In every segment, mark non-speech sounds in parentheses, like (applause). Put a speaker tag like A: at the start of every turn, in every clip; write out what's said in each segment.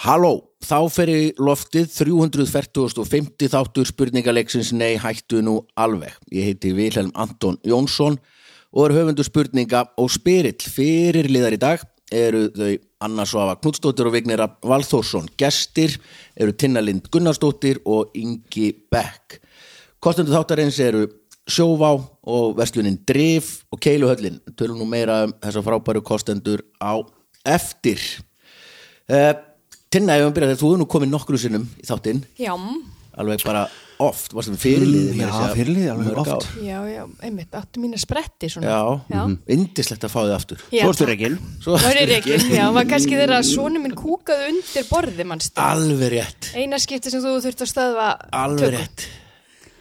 A: Halló, þá fer í loftið 340. þáttur spurningaleiksins Nei, hættu nú alveg. Ég heiti Vilhelm Anton Jónsson og er höfundur spurninga og spyrill fyrirliðar í dag eru þau Anna Svafa Knudsdóttir og Vignera Valþórsson. Gestir eru Tinna Lind Gunnarsdóttir og Ingi Beck. Kostendur þáttarins eru Sjóvá og verslunin Drif og Keiluhöllin. Tölum nú meira um þessar frábæru kostendur á eftir. Uh, Tinna, ef við byrjaði, þú er nú komin nokkru sinnum í þáttinn,
B: Já,
A: alveg bara oft, varst það fyrirlið?
C: Mm, já, fyrirliði alveg oft.
B: já, já, einmitt, áttu mín að spretti svona.
A: Já,
B: Já.
A: Mhm. yndislegt að fá þið aftur.
B: Já,
C: Svo ertu
B: takk.
C: reygin
A: Svo
B: Svo er ég reygin, já, var kannski þeirra að sonu minn kúkaði undir borði, mannstu.
A: Alveg rétt,
B: Eina skipti sem þú þurft að stöðva
A: alveg rétt.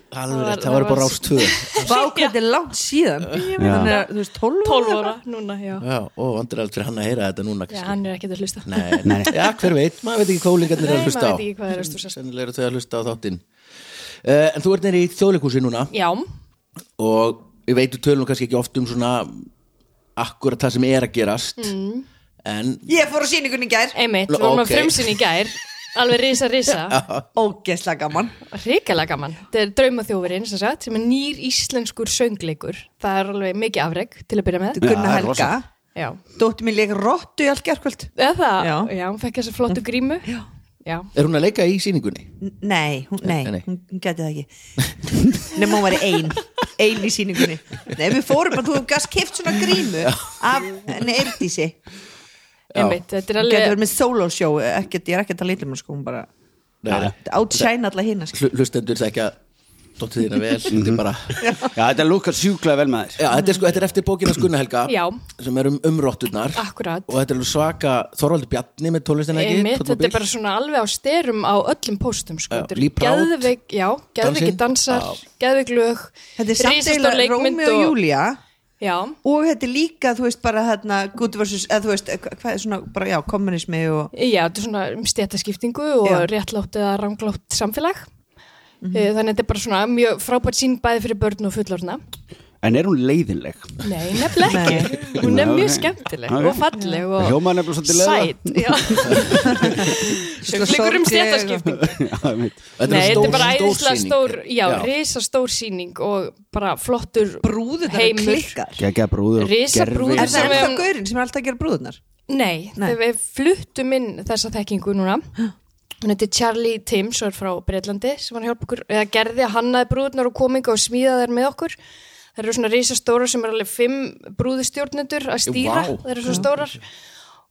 A: Alveg
B: Það var-
A: rétt, það var bara
B: það var-
A: rást tvö.
D: Vákvæmt er langt síðan Þannig að þú veist 12
B: 12 ára núna, já.
A: Já, og vandur aldrei hann að heyra þetta núna.
B: Já,
A: kannski.
B: hann er ekkert að hlusta.
A: Nei, nei. Já, hver veit, maður veit ekki hvað úlingarnir er
B: Nei,
A: að hlusta á.
B: maður veit ekki hvað er að stússast.
A: Sennilega eru þau að hlusta á þáttinn. Uh, en þú ert neyri í þjóðleikúsi núna
B: Já,
A: og við veitum tölum kannski ekki oft um svona akkurat það sem er að gerast
B: Mm.
A: en
D: Ég fór á síningunni í gær
B: einmitt,
A: Nú,
B: við vorum að
A: ok.
B: frumsinn í gær, alveg risa, risa.
D: Ógesla gaman
B: Ríkala gaman. Þetta er Draumaþjófurinn, sem sagt, sem er nýr íslenskur söngleikur. Það er alveg mikið afreg til að byrja með.
C: Já,
D: Gunnar
C: það er
D: Helga
C: rosalegt.
B: Já.
D: Dóttir mín leik rottu í allt gerkvöld
B: Eða það?
D: Já.
B: Já, hún fekk þessa flottu grímu. Já. Já.
A: er hún að leika í síningunni?
D: Nei, hún, nei,
A: Nei, nei.
D: hún hún gæti það ekki Nefnum hún var ein Ein í síningunni Nei, við fórum bara, þú gafst kift svona grímu Af henni Eirdísi
B: Einmitt, þetta er
D: Hún
B: alveg...
D: gæti verið með solo show ekkert, Ég er ekkert að leita um hún sko Hún bara
A: Nei,
D: Outshine alla hinn sko.
A: hlu- hlustendur þekkja dóttir þína vel
C: Mhm.
A: þetta er bara
C: Já, þetta lúkar sjúklega vel maður
A: Já, þetta er, sko, þetta er eftir bókina Skunna Helga
B: Já.
A: sem er um umrótturnar
B: Akkurat.
A: og þetta er alveg svaka Þorvaldur Bjarni með tólistina ekki
B: Einmitt,
A: Tónn og
B: þetta er
A: Bill.
B: bara svona alveg á styrum á öllum póstum sko.
A: Já,
B: Þetta
A: Lee
B: eru
A: Proud,
B: geðveik, já,
A: dansinn.
B: geðveiki dansar, geðveik lög
D: Þetta er samt
B: risastór
D: eiginlega
B: leikmynd
D: Rómi og Júlia
B: Já,
D: Og þetta er líka, þú veist, bara hérna Good versus, eða þú veist, eh, hva- hvað er svona bara, Já, kommunismi og
B: já, þetta er svona um stjættaskiptingu og
D: Já. Mhm.
B: réttlátt eða ránglátt samfélag Eh, Þannig að þetta er bara svona mjög frábært sín bæði fyrir börn og fullorna
C: En er hún leiðinleg?
B: Nei, nefnilega ekki, hún er
C: Nei,
B: mjög
C: ok.
B: skemmtileg
C: Ok.
B: og falleg og
C: Það hljómaði nefnilega svolítið leiða.
B: sæt já.
C: (laughs)
B: Söngleikur um
D: sorgleg-
B: stjættaskiptingu
C: Já, ég veit.
A: Þetta
B: Nei,
A: er
B: þetta
A: stór-
B: er bara
A: stór
B: æðislega
A: sýning.
B: stór, já,
A: Já.
B: risastór síning og bara flottur
D: brúðunar
B: Heimur.
D: klikkar
C: Gekja brúður og
B: Risa
C: gervi-
B: brúður.
D: Er það
B: Sem
D: ennþá
B: við-
D: gaurinn sem er alltaf að gera brúðunar?
B: Nei,
D: Nei.
B: þegar við fluttum inn þessa þekkingu núna Hún heiti Charlie Timms og er frá Breitlandi sem var að hjálpa okkur, eða gerði að hannaði brúðnar og kominga og smíða þær með okkur Það eru svona risastórar sem er alveg fimm brúðustjórnendur að stýra
A: Vá.
B: Það eru svona stórar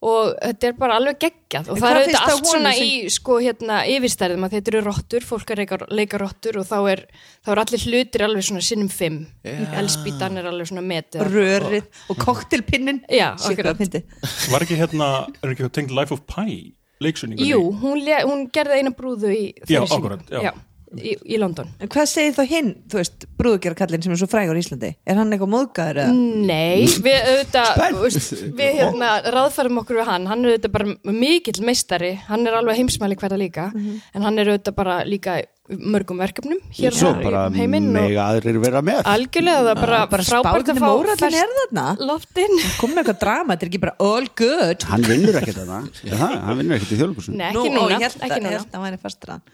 B: og þetta er bara alveg geggjað og
D: En
B: það
D: hvað
B: eru þetta
D: finnst
B: allt
D: það honum
B: svona
D: sem-
B: í sko hérna yfirstærðum að þetta eru rottur, fólk er leika, leika rottur og þá er, þá er allir hlutir alveg svona sinnum fimm, elspítan er alveg svona metið
D: Rörið og koktelpinnin
B: Já, akkurat.
E: Var ekki hérna, er ekki tengd Life of Pi leiksunningunni?
B: Jú, hún, le, hún gerði eina brúðu í
E: Já,
B: þeirri
E: akkúrat,
B: sýningu.
E: já.
B: í, í London
D: En hvað segir þá hinn, þú veist, brúðugjörkallin sem er svo frægur í Íslandi? Er hann eitthvað móðgæður eða?
B: Nei, við auðvitað veist, við hérna ráðfærum okkur við hann hann er auðvitað bara mikill meistari hann er alveg heimsmæli hverja líka
D: Mhm.
B: en hann er auðvitað bara líka í mörgum verkefnum hér
C: Svo
B: og
C: bara
B: þar í um heiminn og
C: mega aðrir vera með
B: algjörlega það er bara,
D: bara
B: frábært að
D: spáðinni
B: fá
D: mórallin
B: ferskt
D: er þarna
B: loftin
D: (laughs) Komum með eitthvað drama, þetta er ekki bara all good
C: Hann vinnur ekkert þarna Já, það, hann vinnur ekkert í þjóðlíkusin
B: Nei, ekki núna,
D: og ég held
B: ekki
D: að- ég
B: núna.
D: held að hann væri fastur að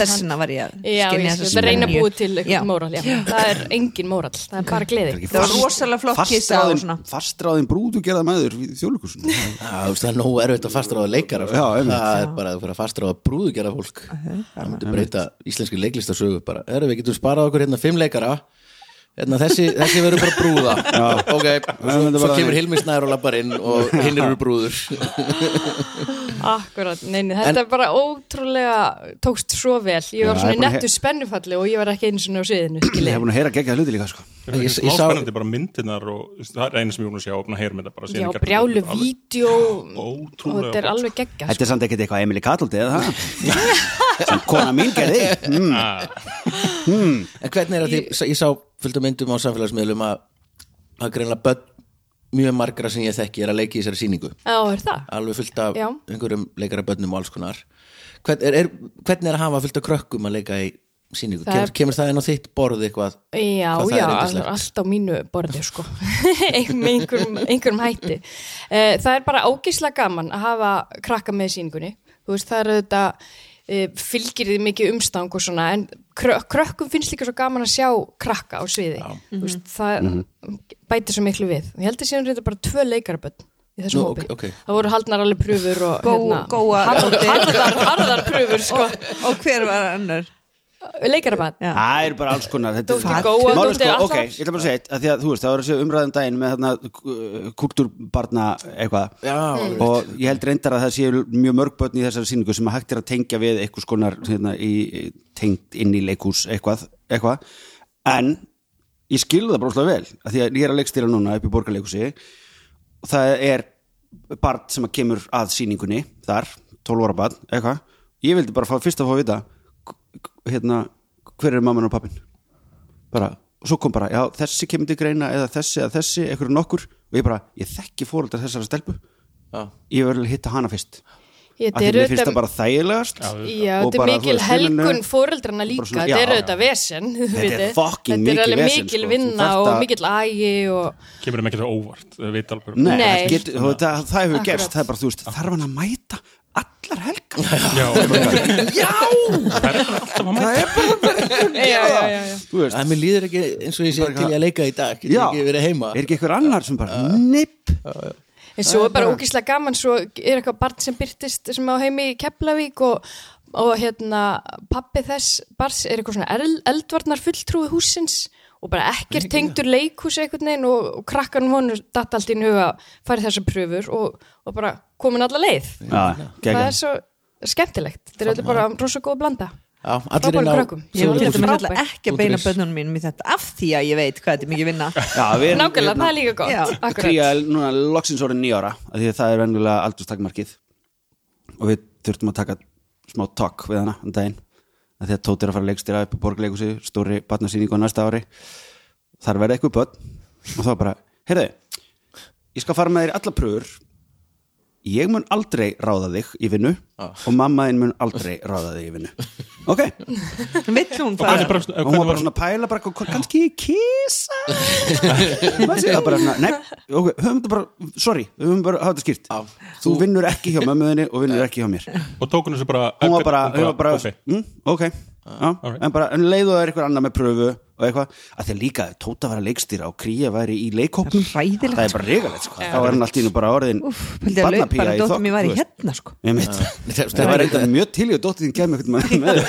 D: Þessina var ég að
B: Já, ég
D: skynja þessa
B: skil, það reyna að
D: spennu.
B: búið til
D: Já.
B: eitthvað móral, já. Það er engin móral, það er bara gleði.
D: Það var rosalega flott kissa og svona
C: Fastráðin brúðu gerða maður í þjóðlíkusin
A: Já, þú veist, Það er nógu erfitt að fastráða leikara sko.
C: Já, einmitt.
A: það er bara að fara að fastráða brúðugjara fólk það myndi breyta íslenski leiklistasögu bara, erum við getum sparað okkur hérna fimm leikara hérna þessi, þessi verður bara brúða ok,
C: Já,
A: svo,
C: þetta
A: svo
C: bara
A: kemur
C: þannig.
A: Hilmi Snær og lappar inn og hinn eru brúður
B: Akkurat, neini, þetta bara ótrúlega tókst svo vel. Ég var
C: Já,
B: svona
C: ég
B: í
C: er búin að
B: nettu spennufalli og ég var ekki einu svona á sviðinu,
C: Ég
B: skilja.
C: hef búin að heyra gegja hluti líka sko.
E: Er það
A: Ég-
E: ekki
A: ég
E: smá
A: sá-
E: spennandi bara myndirnar og þú veist, það er eina sem ég hún að sjá opna að heyra með þetta bara síðan
B: Já,
E: í gærkvöldi.
B: brjálu
E: Alveg-
B: vídeo og
E: ótrúlega
B: þetta er
E: gott.
B: alveg geggja
D: sko.
C: Þetta er samt ekkert eitthvað Emily Cattled eða það Sem kona mín gerði
D: (laughs)
C: mm.
A: en hvernig er að því, ég sá fullt af myndum á samfélagsmiðlum að að greinlega börn mjög margra sem ég þekki er að leiki í þessari sýningu
B: sko. Já, er það?
A: alveg fullt af
B: Já.
A: einhverjum leikara börnum og alls konar Hvern, er, er, hvernig er að hafa fullt af krökkum að leika í síningu,
B: Það er-
A: kemur, kemur það inn á þitt borð eitthvað
B: Já,
A: Hvað það er
B: já, all,
A: yndislegt.
B: allt á mínu borði sko, (laughs) Ein- með einhverjum, einhverjum hætti Eh, Það er bara ágislega gaman að hafa krakka með í síningunni Þú þú veist, það er auðvitað e, fylgir þið mikið umstang og svona en krö, krökkum finnst líka svo gaman að sjá krakka á sviði þú veist,
D: Mhm.
B: það
A: Mhm.
B: bætir svo miklu við ég held að séum reynda bara tvö leikarabönd í þessum
A: Nú,
B: hópi,
A: ok, ok.
B: það voru haldnar alveg pröfur og hérna,
D: Gó- góa- (laughs)
B: harðar, harðar, harðar pröfur sko,
D: og hver var annar
B: leikarabönd
D: Já.
C: Það er bara alls konar þetta
B: Dóttir
C: er-
B: Góa,
C: Málið
B: dóttir
C: sko,
B: Atla.
C: Ok, ég ætla bara að segja eitt, að því að þú veist, það var þessi umræðum daginn með þarna kultúrbarna eitthvað
A: Já,
B: Mm.
A: einmitt.
C: og ég held reyndar að það séu mjög mörg börn í þessari síningu sem að hægt er að tengja við einhvers konar hérna, í, tengt inn í leikús eitthvað, eitthvað en ég skilu það bróðslega vel að því að ég er að leikstýra núna upp í borgarleikúsi og það er barn sem að kemur að síningunni þar, 12 ára barn, eitthvað ég vildi bara fá, fyrst að fá að vita k- k- hérna, hver er mamman og pappin bara, og svo kom bara já, þessi kemur til greina eða þessi eða þessi, einhverju nokkur, og ég bara, ég þekki fóreldar þessara stelpu,
A: Já.
C: ég verður að hitta hana fyrst,
B: Ég,
C: af því mér finnst það bara þægilegast
B: Já,
C: Og
B: þetta er
C: bara, þú
B: mikil
C: veist, vinnunni-
B: helgun fóreldrana líka,
C: svona-
B: þetta er
C: já,
B: auðvitað vesen þú
C: Þetta er
B: vitið.
C: fucking
B: Þetta
C: mikið
B: er alveg
C: vesen, sko.
B: mikil
C: Þú
B: vinna
C: þarft
B: og
C: að-
B: mikill ægi og
E: Kemur þeim ekkert á óvart, þau veit alveg
C: Nei,
B: Nei.
C: Get, það, það, það hefur
B: Akkurat.
C: gerst, það er bara, þú veist, þarf hann að mæta allar helgar
E: Já,
C: Já,
E: það er alltaf að
C: það
E: mæta
C: er bara
B: (laughs) já, já, já, já.
C: Þú veist,
A: Æ, mér líður ekki eins og ég sé til ég að leika í dag Getur
C: já,
A: ekki verið heima (laughs)
C: er ekki einhver annar sem bara, nipp
B: En svo er bara ógíslega gaman, svo er eitthvað barn sem byrtist sem á heimi í Keflavík og, og hérna pappi þess bars er eitthvað svona el, eldvarnar fulltrúi húsins og bara ekkert tengdur leikhús einhvern veginn og, og krakkan vonur datt allt í huga farið þessar pröfur og, og bara komin alla leið.
C: Já,
B: Það
C: geggjað.
B: er svo skemmtilegt. Þetta er auðvitað bara rosa góð blanda.
A: Já, allir
B: Frábærum
A: inn á
B: krökkum.
D: Ég
B: Þú
D: var
B: ert
D: til dæmis alltaf
B: frábær.
D: ekki
A: Þú
D: að beina
A: ert-
D: bönnunum mínum í þetta af því að ég veit hvað þetta er mikið
E: (laughs)
D: vinna
C: Já, við erum-
B: Nákvæmlega,
C: hérna-
B: það er líka gott.
D: Já.
B: Akkurat.
C: Kría er núna loksins orðin nýjára því að það er venjulega aldurstakmarkið og við þurftum að taka smá talk við hana um daginn að því að Tóti er að fara að leikstýra upp í borgarleikusi stóri barnasýningu á næsta ári þar verða eitthvað börn og þá bara, heyrðu ég skal fara með þér í alla pröfur ég mun aldrei ráða þig í vinnu og mamma þín mun aldrei ráða þig í vinnu ok,
D: Vill hún
E: Og hvernig
D: það?
E: bara-
C: og hún var
E: hvernig
C: bara svona að pæla bara, hvað- kannski ég kisa maður sé það bara svona, nei, ok, höfum þetta bara sorry, við höfum bara hafa þetta skýrt
A: Já.
C: þú vinnur ekki hjá mömmuðinni og vinnur ekki hjá mér
E: Og tók hún þessu bara
C: hún var bara, hún var bara
E: ok.
C: mm, ok, já,
E: Ah, alright.
C: en bara en leiðu það er eitthvað annað með pröfu og eitthvað, að því að líka Tóta var að leikstýra og Kría væri í leikhópum
D: Hræðilegt.
C: það er bara regalegt, sko, þá er hann allt í nú bara orðin
D: Úf, pældi að laug bara
C: barnapía í
D: dóttum
C: þokk,
D: ég var
C: þú
D: í
C: veist.
D: hérna sko
C: Ég mitt.
A: Þetta
C: það
A: var
C: var
A: eitthvað-
C: eitthvað mjög til í að dóttir þín kemur eitthvað með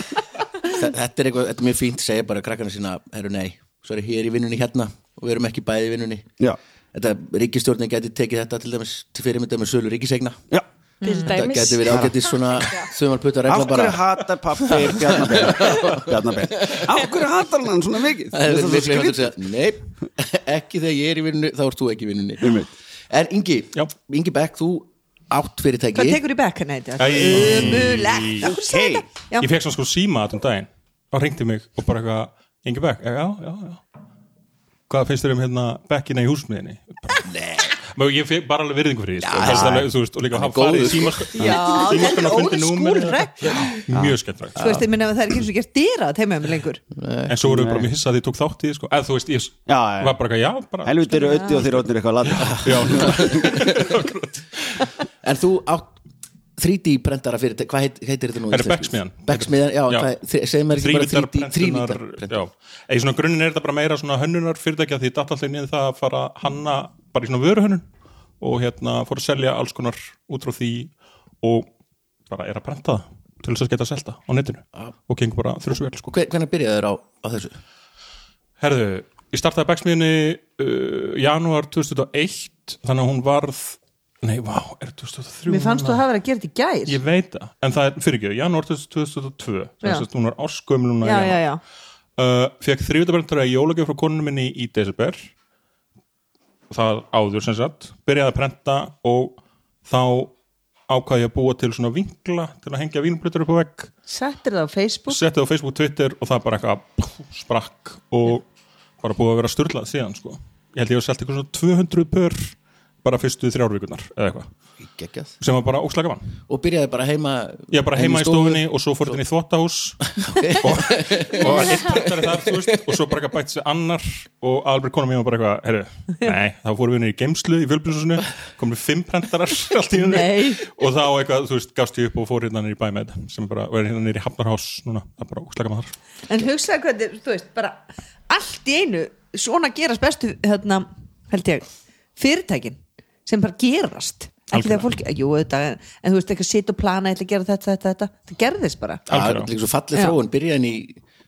D: (laughs)
A: Þa- Þetta er eitthvað, þetta er mjög fínt segja bara krakkana sína, herru nei, svo er ég hér í vinnunni hérna og við erum ekki bæði í vinnunni
C: Já.
A: Þetta, ríkistjórnin geti tekið þetta til dæmis til fyrirmynda með sölu ríkisegna
C: Já.
B: Til
A: Þetta
B: dæmis.
A: geti verið ágætið svona þumalputta
C: Af
A: regla
C: hverju
A: bara (laughs)
C: hatar (laughs) pappi Bjarnabein? Bjarnabein Af hverju hatar hann hann svona mikið?
A: Það er
C: Mér finnst
A: miklu
C: það svo
A: hægt að segja, Nei, ekki þegar ég er í vinnunni, þá ert þú ekki í vinnunni
C: Einmitt.
A: En Ingi,
E: Já.
A: Ingi Beck, þú átt fyrirtæki
D: Hvað tekur í bekkan þetta?
E: Æ.
D: Umulegt Af hverju sagði
C: Hey.
D: þetta? Já.
E: Ég fekk svona sko síma þetta um daginn og hringdi mig og bara eitthvað Ingi Beck, já, já, já Hvað finnst þér um hérna bekkina í húsmiðinni?
D: (laughs)
E: Nei Ég fekk bara alveg virðingu fyrir því sko. Fannst alveg, þú veist, og líka hafa
A: góður,
E: farið í
A: sko.
E: símas-
D: Já, þetta er
E: símaskrána og fundið
D: óður
E: númerið.
D: skúrrekk
E: Mjög skemmtilegt sko.
D: Þú sko, veist, ég minna að það er ekki eins og gert dýra að teima um lengur
E: En svo voru við bara mjög hissað að ég tók þátt í því sko. Eða þú veist, ég
C: Já, já, já.
E: var bara eitthvað, já, bara
C: Helviti eru ötti og þeir ötnir eitthvað að lata (laughs)
A: En þú átt 3D prentara fyrirtæki, hvað heit, heitir þetta nú?
E: Það er Becksmiðan
A: Becksmiðan, já, já. Hvað, þri- segir maður ekki bara 3D
E: Þrývítar
A: þrívíddarprentunar.
E: Já, eða í svona grunninn er þetta bara meira svona hönnunar fyrirtækja því datt alltaf niður það að fara að hanna bara í svona vöruhönnun og hérna fór að selja alls konar út frá því og bara er að prenta það til þess að geta selta á netinu og gengur bara þrjóðsvel sko.
A: Og hver- Hvernig byrjaði þér á, á þessu?
E: Herðu, ég startaði Becksmiðinni uh, janúar 2001 þannig að hún varð Nei, vá, er 2003
D: Mér fannst þú að hafa verið að gera þetta í gær
E: Ég veit það, en það er fyrirgjöð, janúar 2002
D: Já.
E: þess að hún var áskömmul núna í
D: Já, já,
E: janúar.
D: já
E: uh, fekk þrjúðabrentara í jólagjöf frá konunum minni í desember það áður sem sagt byrjaði að prenta og þá ákvaði ég að búa til svona vinkla til að hengja vínblutur upp á vegg
D: Settir það á Facebook
E: setti það á Facebook, Twitter og það bara eitthvað pff, sprakk og bara búið að vera styrlað síðan sko. ég held ég að selta eitthvað svona 200 pör bara fyrstu þrjár vikunar eða eitthvað
A: geggjað
E: sem var bara ókslega gaman
A: og byrjaði bara heima
E: ég var bara heima í stofunni og svo fór þetta inn í þvottahús (laughs) og, (laughs) og eitt partari þar þú veist, og svo bara eitthvað bætt sér annar og alveg konum ég var bara eitthvað herru, nei, þá fórum við inn í geimslu í fjölbjörnsúsinu komum við fimm prentarar allt í hennu
D: Nei.
E: og þá eitthvað, þú veist, gafst ég upp og fór hérna nýri bæ með þetta, sem bara, og er hérna nýri Hafnarhás núna, það er bara ókslega gaman þar
D: En hugsaðu hvernig, þú veist, bara allt í einu, svona gerast bestu hérna, held ég fyrirtækin sem bara gerast ekki
E: Algjörlega.
D: þegar fólk, jú, auðvitað en, en þú veist, ekki að sitja og plana, ég ætla að gera þetta, þetta, þetta það gerðist bara
A: það er
E: Algjörlega.
A: líka svo fallið
D: Já.
A: þróun byrjaði hann í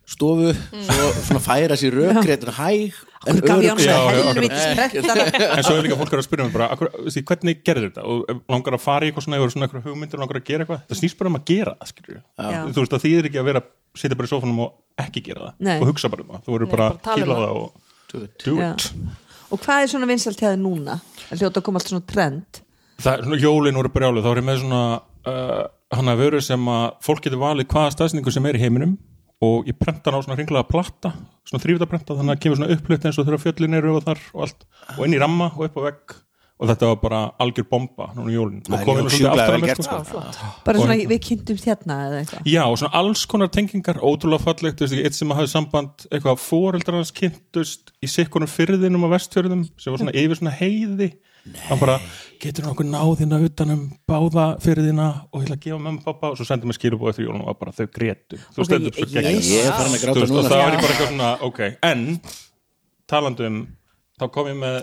A: stofu svo svona færa sér rökrétun hæg
D: Akkur gaf ég
A: örugg.
D: hann
E: Já,
D: svona
E: já,
D: helvitis prentara
E: en svo er líka fólk er að spyrja mig bara akkur, því, hvernig gerður þetta og ef langar að fara í eitthvað svona, eða eru svona eitthvað hugmyndir og langar að gera eitthvað það snýst bara um að gera það skilur
D: Já.
E: þú veist það þýðir ekki að vera sitja bara í sofunum og ekki gera það
D: Nei.
E: og hugsa bara um það, þú verður
B: Nei,
E: bara
B: bara tala um
E: að kýla
B: það.
E: það og do it, do
D: Já.
E: it.
D: og hvað er svona vinsalt hefði núna? Það hljóta að koma allt svona trend
E: það er svona jólin voru brjálið þá er ég með svona uh, hann að veru sem að fólk getur valið hvaða staðsningu sem er í heiminum og ég prenta hann á svona hringlaða platta svona þrývita prenta þannig að kemur svona upplut eins og þegar fjöllin eru og þar og allt og inn í ramma og upp á vegg og þetta var bara algjör bomba núna í jólin
C: Það
E: og
C: er
E: komið
C: nú
E: nú svolítið
C: sjúklega
E: aftur að
C: vel
E: mér
C: gert,
E: sko.
D: bara svona, við kynntumst hérna eða eitthvað
E: Já, og svona alls konar tengingar, ótrúlega fallegt, þú veist ekki, eitt sem hafði samband, eitthvað fóreldrar hans kynntust í sikkunum fyrðinum á vestfjörðum, sem var svona
A: Hm.
E: yfir svona heiði, hann bara, getur hann okkur náðina utanum um báða fyrðina og ég ætla að gefa mömmu og pappa og svo sendið mér skilubóð eftir jólunum og var bara þau grétu,
D: Ok,
E: þú okay, stendur svo
D: ég-
E: gegn
D: ég-
A: ég er farin að gráta
E: veist, og
A: núna,
E: það
A: sko.
E: var ég bara eitthvað svona, ok, en talandi um, þá kom ég með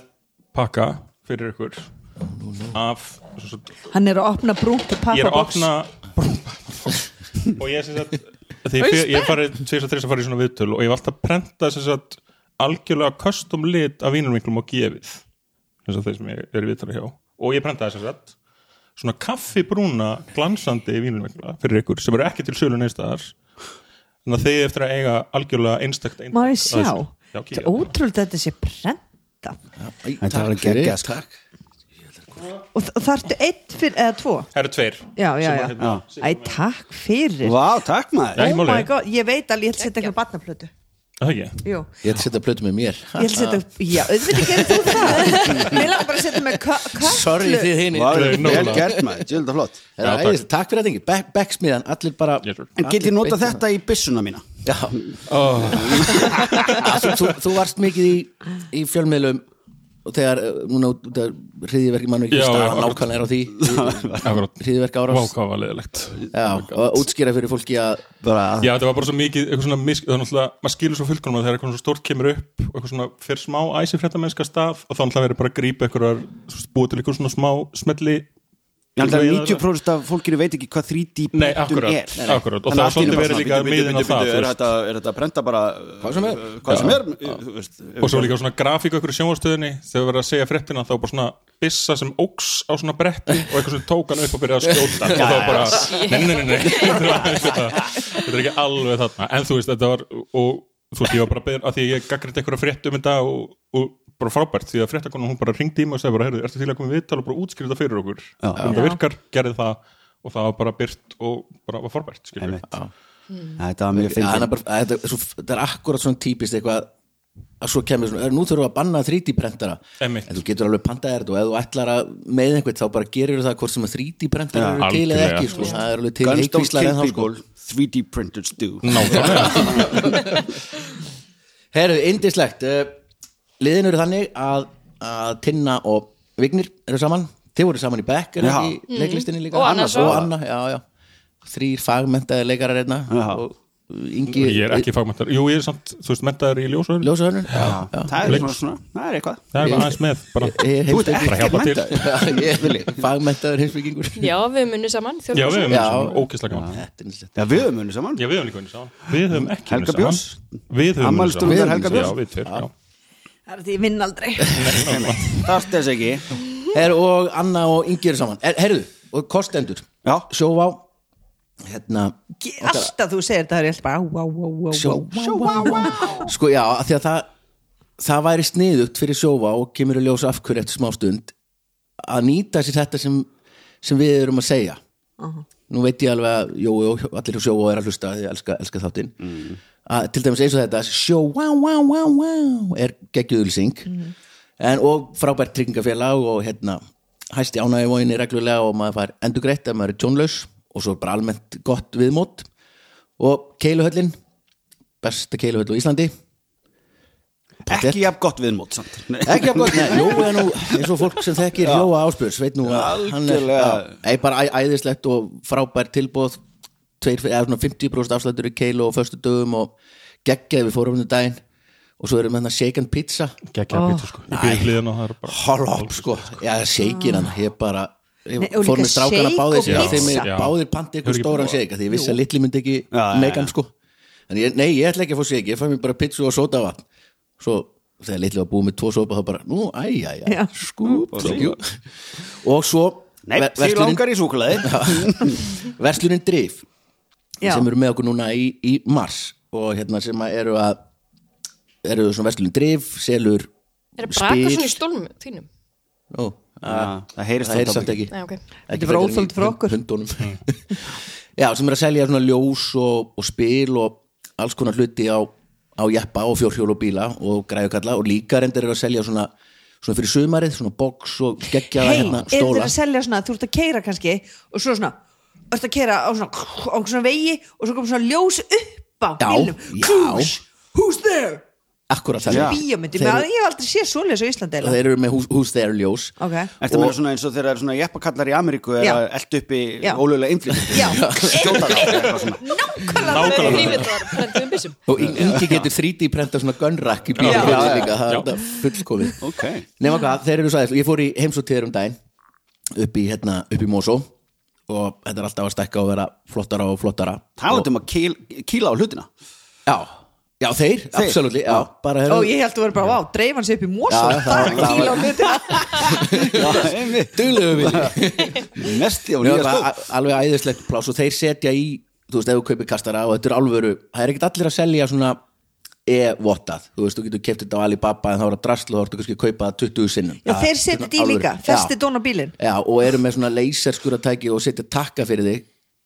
E: pakka fyrir ykkur af, svo, svo,
D: hann er að opna brúnt og
E: ég er að
D: pappaboks
E: opna og ég er sem sagt því ég, fer- ég er farið tvis og þris að fara í svona viðtöl og ég var alltaf að prenta sem sagt algjörlega custom lit af vínur miklum og gefið sem sagt þeir sem ég er í viðtölu hjá og ég prentaði sem sagt svona kaffibrúna glansandi vínur mikla fyrir ykkur sem eru ekki til sölu neistadar þannig að þið eftir að eiga algjörlega einstakt eintak
D: má ég
E: af
D: sjá,
E: þessu. Já,
D: þetta
E: kíkja
D: er ótrúlega þetta sé prenta
A: Æ,
C: En það var
A: takk
C: geggjað,
A: fyrir,
C: sko.
A: takk
D: og þ- þarftu eitt fyrir, eða tvo
E: Það eru tveir
D: já, já,
E: sem að,
D: já,
E: hérna,
D: æ, takk fyrir
C: Vá, takk maður
E: Já. Ekki
D: oh my
E: máli.
D: god, ég veit alveg, ég ætla að setja eitthvað barnaplötu
E: er það ekki?
A: ég
D: Jú,
A: ætla að setja plötu með mér
D: ég ætla að setja já, auðvitað gerir þú það
A: (laughs)
D: Mér langar bara að setja með kö- köttlu
A: sorry þið hinn
C: Vá,
E: Þetta er
C: vel
E: nógulega.
C: gert maður, þetta er flott
E: Já, takk.
A: takk fyrir að þingi, backsmiðan allir bara
E: Yes, sir.
C: En get
A: allir
C: ég nota
A: beint-
C: þetta í byssuna mína?
A: Já þú, þú, þú varst mikið í, í fjölmiðlum og þegar eh, núna hriðiverki mann ekki
E: Já,
A: staðan
E: akkurat.
A: nákvæmlega er á því
E: Akkurat.
A: hriðiverki árás
E: Vá, hvað var leðilegt
A: já, og útskýra fyrir fólki að
C: Bara,
E: Já, þetta var bara svo mikið, eitthvað svona misk, það er náttúrulega, maður skilur svo fullkonum að þegar eitthvað svona stórt kemur upp og eitthvað svona fyrir smá æsifrétta mennska stað og þá náttúrulega verið bara að grípa eitthvað, búið til eitthvað svona smá smelli
C: Ég held að 90% af fólkinu veit ekki hvað 3D
E: Nei,
C: prentun
E: akkurat,
C: er
E: akkurat. Og það er
C: allt í einu bara
E: svolítið verið
C: svona,
E: líka
C: bíddu, bíddu,
E: miðinn á
C: bíddu,
E: það,
C: bíddu,
E: þú
C: Er
E: veist.
C: þetta er þetta að prenta bara uh,
A: Hvað sem er.
C: Hvað sem er þú veist, uh,
E: og svo líka svona grafík okkur í sjónvastöðinni þegar verið að segja fréttina þá bara svona bissa sem óks á svona bretti og eitthvað svona tók hann upp og byrjaði að skjóta og þá bara, nei, nei, nei, nei þetta þetta er ekki alveg þarna en þú veist, þetta var, og þú veist, ég var bara beðin, að því ég gaggrit eitthvað frétt um þetta og, og bara frábært, því að fréttakonum hún bara ringdi í mig og segði bara, heyrðu, ertu til að koma í viðtal og bara útskýra þetta fyrir okkur, hvernig þetta virkar, gerði það og það var bara byrt og bara var frábært, skilur
C: Einmitt. Já, Þetta var mjög
A: Já, hann er
C: fyndið
A: bara- að þetta er svo- þetta er akkurat svona típist eitthvað að svo kemur svona, er, nú þurfum við að banna 3D-prentara
E: Einmitt.
A: en þú getur alveg pantaði þetta og ef þú ætlar að með einhvern þá bara gerir það hvort sem að 3D-prentara
C: Já,
A: eru til eða
E: algjörlega.
A: ekki sko. það er alveg til
C: Guns don't
A: heikvíslar
C: kill
A: en þá sko
C: people 3D printers do
E: Nákvæmlega.
A: Herru, indislegt uh, liðin eru þannig að, að Tinna og Vignir eru saman þið voru saman í Beck er
C: Já.
A: ekki í leiklistinni líka
B: Mm. Og Anna sko. svo.
A: og Anna, já, já. þrýr fagmentaði leikarar einna
C: Já.
A: og Ingi
E: ég er ekki fagmæntar, jú, ég er samt, þú veist, mentaður í ljósuðum
A: ljósahönnun
C: Já, Það er svona svona, það er eitthvað
E: það er bara aðeins með, bara,
A: Ég- ég-
E: þú veist,
A: heimspekingur.
E: bara hjálpa til (laughs)
A: fagmentaður heimsbyggingur
B: Já, við munum saman
E: Já, við höfum
A: Já.
E: saman, ókislega gaman
A: Þetta er indislegt.
C: Já, við höfum unni saman
E: Já, við höfum líka unnið saman Við höfum ekki
C: Helga
E: unnið saman.
C: Björns?
E: Við höfum unnið
C: Afmælisdóttir
E: saman.
C: Helga Björns?
E: Já, við tveir, já
D: Það er því ég vinn aldrei
C: Þarft þess ekki
A: Herru, og Anna og Ingi eru saman Er- Herru, og kostendur
C: Já.
A: sjóvá hérna
D: Ge- Alltaf þú segir þetta, það er ég alltaf bara á, á, á, á, á,
A: sjó,
D: á.
A: sjó, vá, vá. sko já, af því að það það væri sniðugt fyrir sjóvá og kemur að ljósa af hverju eftir smá stund að nýta sér þetta sem, sem við erum að segja nú veit ég alveg að jó, jó, allir hjá sjóvá er að hlusta því ég elska, elska þáttinn að til dæmis eins og þetta sjó, vá, vá, vá, vá er geggjúðlýsing en, og frábært tryggingafélag og hérna hæsti ánægði vóginni reglulega og maður fær endur greitt ef maður er tjónlaus og svo er bara almennt gott viðmót og keiluhöllin besta keiluhöll á Íslandi
C: ekki jafn gott viðmót samt
A: ekki að gott, nei, Jói er nú eins og fólk sem þekkir Jóa Áspjörs, veit nú að hann er
C: Algjörlega.
A: Nei, bara æ, æðislegt og frábær tilbóð tveir, eða svona 50% afslættur í keilu og föstu dögum og geggjaði við fórum um daginn og svo erum við hérna shaken pizza
E: Gekkja að býta sko Ég býði hliðin og það er bara
A: holop sko, já shaken hann ég bara, ég
D: Nei, og
A: fór
D: líka
A: með strákana
D: shake
A: báði
D: og
A: sér, þeim
E: pizza.
A: er
E: Já.
A: báðir pandi ykkur
E: Hefur ekki
A: stóran
E: búið-
A: shake af því ég vissi að litli myndi ekki megan sko en ég, nei, ég ætla ekki að fá shake, ég fæ mér bara pizza og soda vatn svo þegar litli var búið með tvo sopa þá bara, nú, æja,
D: Já.
A: já skúp, skjú og svo
C: nei,
A: ver-
C: því langar í súkulaði
A: verslunin drif
D: Já.
A: sem eru með okkur núna í, í mars og hérna sem að eru að eru svona verslunin drif, selur
B: Er að braka svona í stólum þínum?
A: Ó, að-
C: það heyrist
A: það er samt
C: dálítið.
A: ekki
B: Nei, ok.
A: Ekki
D: er bara
A: frekar en í
D: óþolandi fyrir
A: hund-
D: okkur. (laughs)
A: hundunum já, sem er að selja svona ljós og, og spil og alls konar hluti á, á jeppa og fjórhjól og bíla og græðukalla og líka reyndir er að selja svona, svona fyrir sumarið, svona box og geggjaða
D: hei,
A: hérna
D: eru þeir
A: stóla
D: að selja svona, þú ert að keira kannski og svo svona, ert að keira á svona, á svona vegi og svo kom svona ljós upp á
A: Já,
D: bílnum.
A: já.
D: Who's- who's there?
A: akkurat
C: Já.
A: þannig
D: Bíómyndi,
A: Þeir-
D: ég hef aldrei séð svoleiðis á Íslandi
A: þeir
D: eiginlega.
A: eru með hús, hús þeir ljós
D: ok,
C: Ertu að meina svona eins og þegar það eru svona jeppakallar í Ameríku er
D: Já.
C: að elda upp í
D: Já.
C: ólega innflýtt
D: já,
C: skjóta það eitthvað svona
D: (laughs) nákvæmlega
E: Nákvæmlega.
B: Þau rífið það, brendum við byssum.
A: og Ing- Ingi getur 3D prenta svona gunrack í bílum
D: Já.
A: fyrir líka, það
E: Já.
A: er þetta fullkomið
C: ok,
A: nema hvað, þeir eru sæðis ég fór í heimsóttíður um daginn upp í, hérna, upp í Mosó og þetta er alltaf að stekka og vera flottara og flottara
C: talaðum um að kýl- kýla á hlutina
A: já, já þeir, þeir. absolutt já, bara hefur
D: og ég held að vera bara, vá, dreif hans upp í mosa
A: Já,
D: það
A: það-
D: er kíl á hlutina
C: (laughs)
A: duglegu við
D: (laughs)
C: mesti á
A: Já,
C: nýja
A: það
C: skó
A: er alveg æðislegt pláss og þeir setja í þú veist, ef þú kaupir kastara og þetta er alvöru það er ekkert allir að selja svona e-vottað, þú veist, þú getur keft þetta á Alibaba en þá er það drasl og þá ertu kannski að kaupa það 20 sinnum
D: já, þeir
A: Svona
D: setja þetta í
A: alvöru.
D: líka,
A: Já.
D: festi dón á bílinn
A: Já, og eru með svona laserskúratæki og setja takka fyrir þig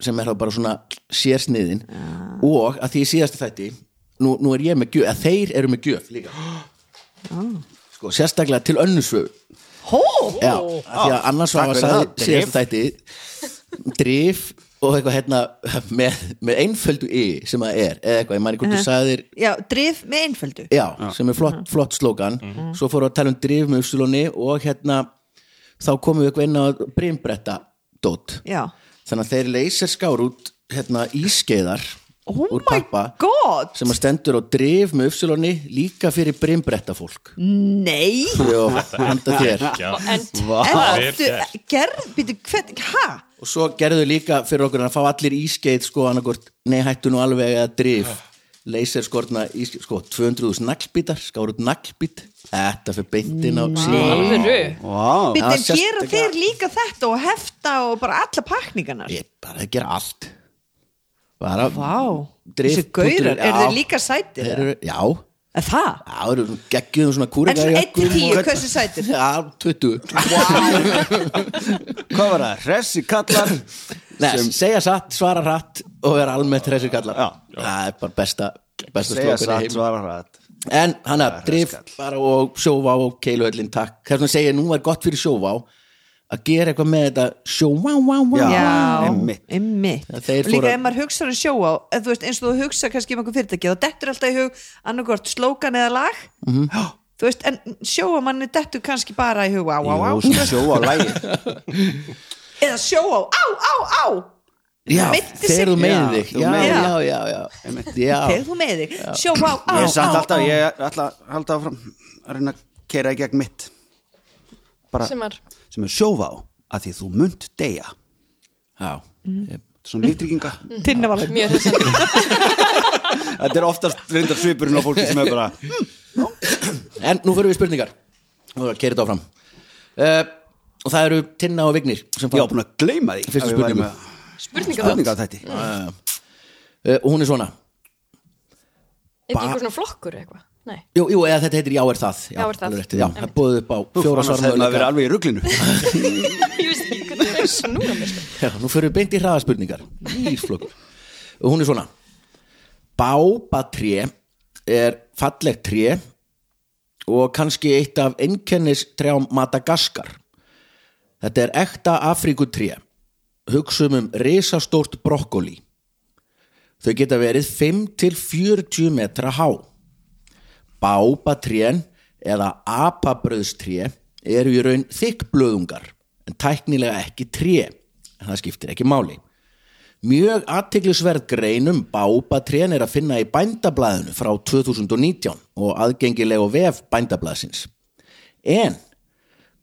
A: sem er þá bara svona sérsniðin og að því í síðasta þætti nú, nú er ég með gjöf, að þeir eru með gjöf líka sko, sérstaklega til önnusvögu
D: hó,
A: Já, af því að annars var
C: ah, takk
A: að
C: fyrir
A: sagði
C: það,
A: síðasta þætti drif og eitthvað hérna með, með einföldu í sem það er, eða eitthvað, ég mani hvort þú sagðir
D: já, dreif með einföldu
A: já, sem er
D: Mhm.
A: flott, flott slókan svo fórum við að tala um drif með Upsiloni og hérna, þá komum við eitthvað inn á brimbretta dót
D: já,
A: þannig að þeir leysir skár út hérna ískeiðar
D: Oh
A: úr
D: my
A: pappa
D: God!
A: sem að stendur og drif með Upsiloni líka fyrir brimbretta fólk
D: nei
A: og handa þér
E: Já,
B: End.
D: en
E: vel
D: áttu,
E: gert.
D: gerð, býtu, hvern, hæ
A: og svo gerðu líka fyrir okkur að fá allir ískeið sko annarkort, nei hættu nú alveg að drif leyserskorna ískeið sko 200.000 naglbítar, skáru út naglbít þetta fyrir beintin á síðan
B: Alvöru.
C: Vá.
A: Já,
D: býtu,
A: sérstaklega-
D: gera þeir líka þetta og hefta og bara alla pakningarnar
A: ég bara að gera allt bara
D: vá,
A: Drif-
D: þessi gaurar,
A: punktur-
D: eru
A: já.
D: þeir líka sætir
A: þeir
D: eða?
A: eru, já,
D: Er það?
A: já, þeir eru geggjum svona
D: En
A: kúrega
D: svona 1-10, hversu sætir?
A: já, 20
C: hvað var það, hressi kallar
A: nei, segja satt, svara hratt og vera almennt hreysir kallar það er bara besta, besta
C: segja
A: slókan í
C: satt,
A: heim
C: svara hrætt
A: En hann að drif bara og sjóvá og keiluhöllin takk. Þess vegna segja ég, nú er gott fyrir sjóvá að gera eitthvað með þetta sjóvá, vá, vá.
C: Já.
D: Já,
C: einmitt.
D: einmitt.
A: Já,
D: og
A: þeir
D: líka
A: fóru-
D: ef maður hugsa um sjóa ef þú veist, eins og þú hugsa kannski um einhver fyrirtæki þá dettur alltaf í hug annarkvort slókan eða lag
A: Mhm.
D: -hmm. þú veist, en sjóa manni dettur kannski bara í hug á, á, á,
C: sjóa á lægi
D: eða sjóa á, á, á
A: Já,
D: Meiddi sig.
A: þegar þú
C: Já,
A: meðið þig.
C: þú
A: Já,
C: meiðir
A: já,
D: þig.
A: já, já. já.
D: þegar þú með þig, sjóa á, á,
C: ég er samt
D: á,
C: alltaf,
D: á
C: ég ætla að halda áfram að reyna að kera í gegn mitt bara
B: Sem var,
C: sem er sjófa á að því þú munt deyja
A: já.
C: svona líftrygginga
D: tinna var
B: mjög þess að
C: þetta er oftast reyndar svipurinn á fólki sem er bara
A: En nú fyrir við í spurningar. Nú erum við að keira þetta áfram. Uh, og það eru Tinna og Vignir sem
C: ég á
A: fara.
C: búin að gleyma því að
A: Fyrstu
C: við værum
A: spurningu.
C: að-
B: spurninga það.
C: spurninga þetta
D: Mm.
A: Uh, og hún er svona.
B: Er ekki einhver svona flokkur eitthvað? Nei.
A: Jú, jú, eða þetta heitir Já er það.
B: Já er það.
A: alveg rétt, Já, það búið upp á fjóra
C: annars hefði maður verið
A: svarmöðuleika.
C: alveg í ruglinu
B: Ég veist ekki hvernig það er snúra mér sko.
A: Já, nú fyrir við beint í hraðaspurningar Ísflokkur Og hún er svona Bábatré er fallegt tré og kannski eitt af einkennistrjám Madagaskar. Þetta er ekta Afrikutré. Hugsum um risastórt brokkoli. Þau geta verið 5-40 metra há. Bábatrén eða apabröðstré eru í raun þykkblöðungar en tæknilega ekki tré en það skiptir ekki máli. Mjög aðteglisverð greinum bábatrén er að finna í bændablaðinu frá 2019 og aðgengileg og vef bændablaðsins. En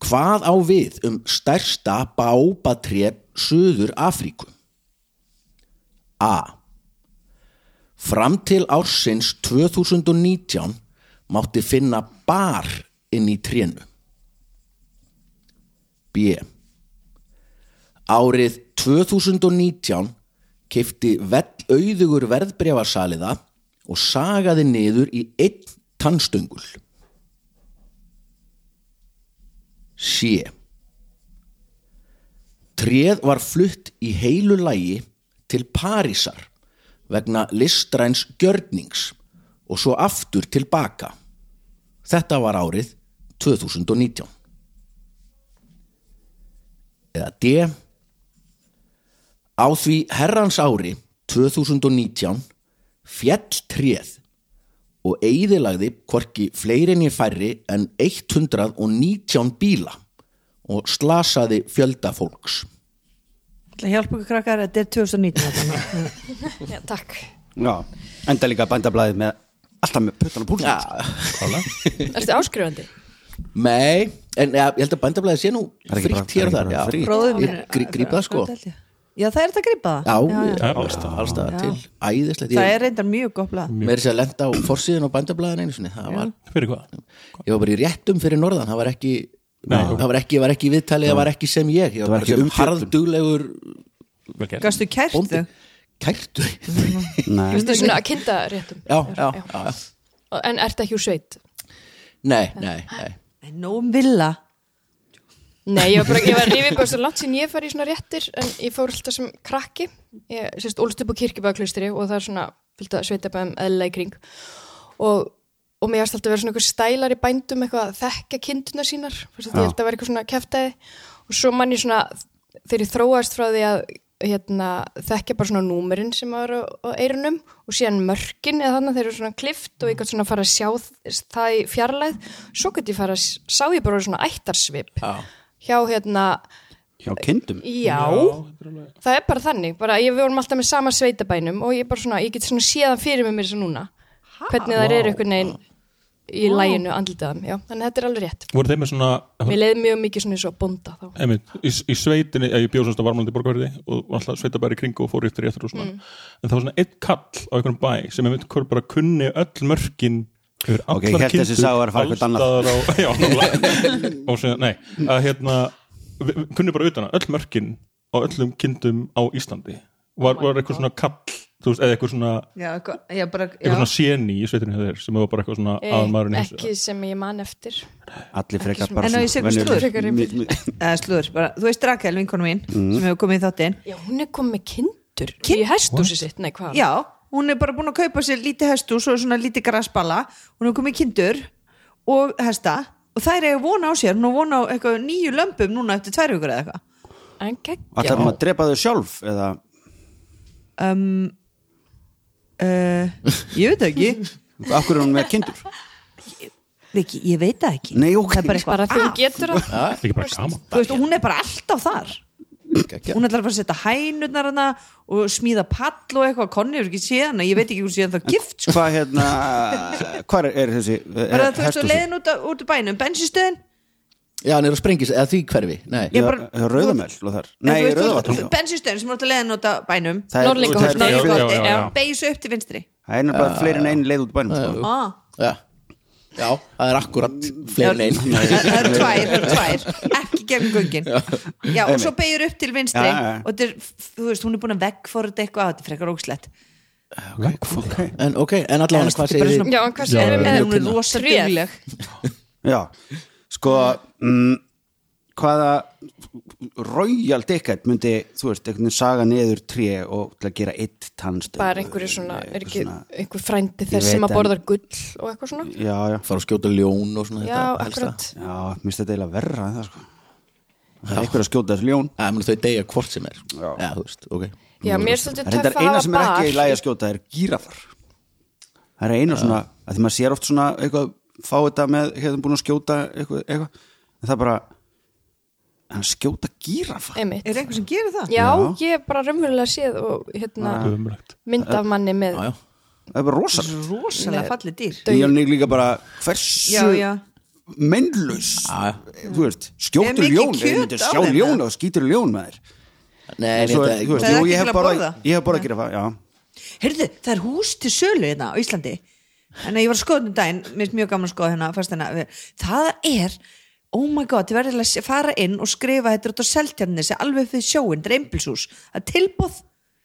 A: hvað á við um stærsta bábatré Suður Afríku? A. Fram til ársins 2019 mátti finna bar inn í trénu. B. Árið 2019 kefti vellauðugur verðbrefasaliða og sagaði niður í einn tannstöngul. C. Tréð var flutt í heilu lægi til Parísar vegna listræns gjörnings og svo aftur til baka. Þetta var árið 2019. Eða D. Á því herrans ári 2019 fjall tréð og eigðilagði hvorki fleirinni færri en 119 bíla og slasaði fjölda fólks.
D: ætla að hjálpa ykkur krakkar, þetta er 2019 þarna.
B: Já, takk.
C: Já, enda líka bændablaðið með alltaf með puttan og púlsins
A: Ja,
B: Ertu áskrifandi?
A: mei, en ja, ég held að bændablaðið sé nú
C: er ekki bara-
A: fritt hér og
C: það er
A: þar.
C: ekki bara
A: já. (laughs)
C: frítt.
D: Bróðir minn
A: Ég
D: er-
A: grí- gríp það, sko.
D: held ég. Já, það er þetta að grípa það
A: Já,
E: já.
A: allstað til Æðislegt,
D: Það
A: ég
D: er reyndar mjög gopla
A: mér er sér að lenda á forsíðin á bændablaðin einu sinni Það var,
E: Fyrir hvað?
A: ég var bara í réttum fyrir norðan Það var ekki,
E: Nei.
A: það var ekki, ég var ekki viðtalið Það var ekki sem ég, ég
C: var
A: var bara
C: ekki
A: sem
C: umfjöllun.
A: harðduglegur
E: Vel gert.
D: Gastu kært
A: bóndi
D: þau?
A: Kærtu
D: (laughs)
C: Nei,
B: Ertu svona að kinda réttum?
A: Já, já, já
B: En ertu ekki úr sveit?
A: Nei, nei, nei
D: Nóum um villa
B: Nei, ég var bara, ég var rifið bara svo langt sín ég fari í svona réttir en ég fór alltaf sem krakki ég sérst ólst upp á kirkjubæðaklaustri og það er svona fylgta sveitabæðum eðla í kring og, og mér varst alltaf að vera svona einhver stælar í bændum eitthvað að þekka kinduna sínar fyrst að ég held að vera eitthvað svona kæftæði og svo mann ég svona þegar ég þróaðist frá því að hérna, þekka bara svona númerinn sem var á, á eirunum og síðan mörkin eða þannig að þeir eru svona klift og ég gætt svona að fara að sjá það í fjarlæð svo gætt ég fara að s- sá ég bara svona ættarsvip
A: Já.
B: hjá hérna
C: hjá kindum
B: já, það er bara þannig bara ég við vorum alltaf með sama sveitabænum og ég bara svona, ég get svona séðan fyrir með mér sem núna hvernig það eru einhvern veginn í læginu andlitaðum, já, þannig að þetta er alveg rétt
E: Voru þeim með svona
B: mér leiði mjög mikið svona eins og bónda þá
E: einmitt, í, í sveitinni, eða ég bjóð svona varmlandi borgarverði og var alltaf sveitabæri í kring og fór eftir réttur og svona en það var svona einn kall á einhvern bæ sem einmitt hver bara kunni öll mörkin hver
C: Ok, ég hélt þessi sá var að fara eitthvað annað.
E: á, (laughs)
C: (laughs)
E: já, náttúrulega. og sem, nei, að hérna vi- vi- kunni bara utan að öll mörkin á öllum kindum á Íslandi var, var eitthvað svona kall þú veist, eða eitthvað svona,
D: Já, go- já, bara,
E: eitthvað
D: já.
E: svona séni í sveitinu þeir sem var bara eitthvað svona aðmaðurinn í þessu.
B: Eh, ekki sem ég man eftir
C: Allir frekar
B: svona.
C: bara
D: En á ég sé eitthvað
C: venjulegir.
B: slúður?
C: Mi- mi-
D: Eða slúður, bara, þú veist Rakel, vinkonu mín
C: Mm.
D: sem hefur komið í þáttinn
B: já, hún er komið með kindur í hestúsi sitt, nei hvað
D: Já, hún er bara búin að kaupa sér lítið hestús og svona lítið grasbala hún hefur komið kindur og hesta og þær eiga vona á sér, hún er vona á eitthvað nýju lömpum núna eftir tvær vikur eða eitthvað
B: en
C: Ætlar hún
B: geggjá
C: að drepa þau sjálf eða
D: um, uh, Ég veit það ekki
C: af hverju er hún með kindur?
D: (laughs) Viki, ég veit það ekki
C: Nei, ok.
D: Það er bara eitthvað
B: bara þegar hún getur það
E: Það er ekki bara gaman
D: Þú veist, og hún er bara alltaf þar
A: Gekkja.
D: hún ætlar bara að setja hænurnar hana og smíða pall og eitthvað konni er ekki síðan, ég veit ekki hún síðan það gift sko.
C: Hvað hérna Hvað er þessi eh,
D: bara þú veist,
C: hesthúsi?
D: þú leiðin út, af- út af bænum bensinstöðin,
A: Já, hann er að sprengis, eða því hverfi Nei,
D: Ég
C: Já,
D: bara-
C: hjá eh, Rauðamel og þar Nei, Rauðavatn sko. já.
D: bensinstöðin sem er út af leiðin út af bænum
C: Það er-
B: Norðlinga-
C: það er-
B: Norðlinga-
C: það er-
E: já, já, já.
D: beis upp til vinstri
C: Það er nefnilega fleiri en einn leið út í bænum sko.
D: ah.
A: já, já það er akkurat fleiri en einn
D: það það eru tvær, það eru tvær ekki gegn göngin já, og svo beigir upp til vinstri
C: Já, já, já.
D: og þetta er, þú veist, hún er búin að veggforða eitthvað á þetta er frekar ógslegt
E: okay.
A: En ok, en allavega
D: Þetta er
A: hvað
D: bara
A: segir
D: svona-
A: þið?
B: já, en hvað um sem
D: hún
B: við
D: er
B: með
D: rosa
B: Tréð.
D: dugleg
C: Já, sko mm, hvaða raujal dekket myndi, þú veist, einhvern veginn saga niður tré og til að gera eitt tannstöð
B: bara einhverju svona, er ekki
C: svona-
B: einhver frændi
C: Ég
B: þess sem
C: veit
B: að
C: en-
B: borðar gull og eitthvað svona
C: Já, já,
A: fara að skjóta ljón og svona
B: já,
A: þetta helsta.
B: akkurat
C: já, minnst þetta eiginlega verra en það sko Það er einhver að skjóta þessu ljón
A: Já, meni, þau deyja hvort sem er Já, þú veist, ok
B: já, mér er svolítið
C: Það
B: töff
C: er
B: að
C: Mm. eina
B: hafa
C: sem er ekki í
B: bar
C: lagi að skjóta er gírafar Það er eina svona, að því maður sér oft svona eitthvað, fá þetta með, hefðum búin að skjóta eitthvað, eitthvað, en það er bara en að skjóta gírafar
B: einmitt
D: Er einhver sem gerir það?
B: já, ég er bara raunverulega séð og hérna
C: Ah.
E: Ömurlegt.
B: mynd af manni með
A: Já, já,
C: Það er bara rosalegt
D: Rosalega fallið dýr
B: Dauð.
C: Ég er líka bara hversu
D: Já, já.
C: mennlaus þú veist,
D: Er
C: skjótur
D: mikið
C: ljón
D: kjöt
C: eða myndir
D: á
C: sjá
D: þeim,
C: ljón
D: eða?
C: og skýtur ljón með þér
A: nei,
C: En
A: nei,
C: svo
A: þetta
C: er, þú veist,
D: Það er
C: jú,
D: ekki
C: ég
D: til
C: hef
D: að
C: bara
D: borða.
C: ég hef bara að gera það,
D: (laughs)
C: já
D: Heyrðu, það er hús til sölu hérna á Íslandi en ég var að skoða um daginn, mér er mjög gaman að skoða hérna fastina, það er oh my god, þið verður að fara inn og skrifa þetta út á seltjarnisi, alveg fyrir sjóin dreymbilshús, það er tilbúð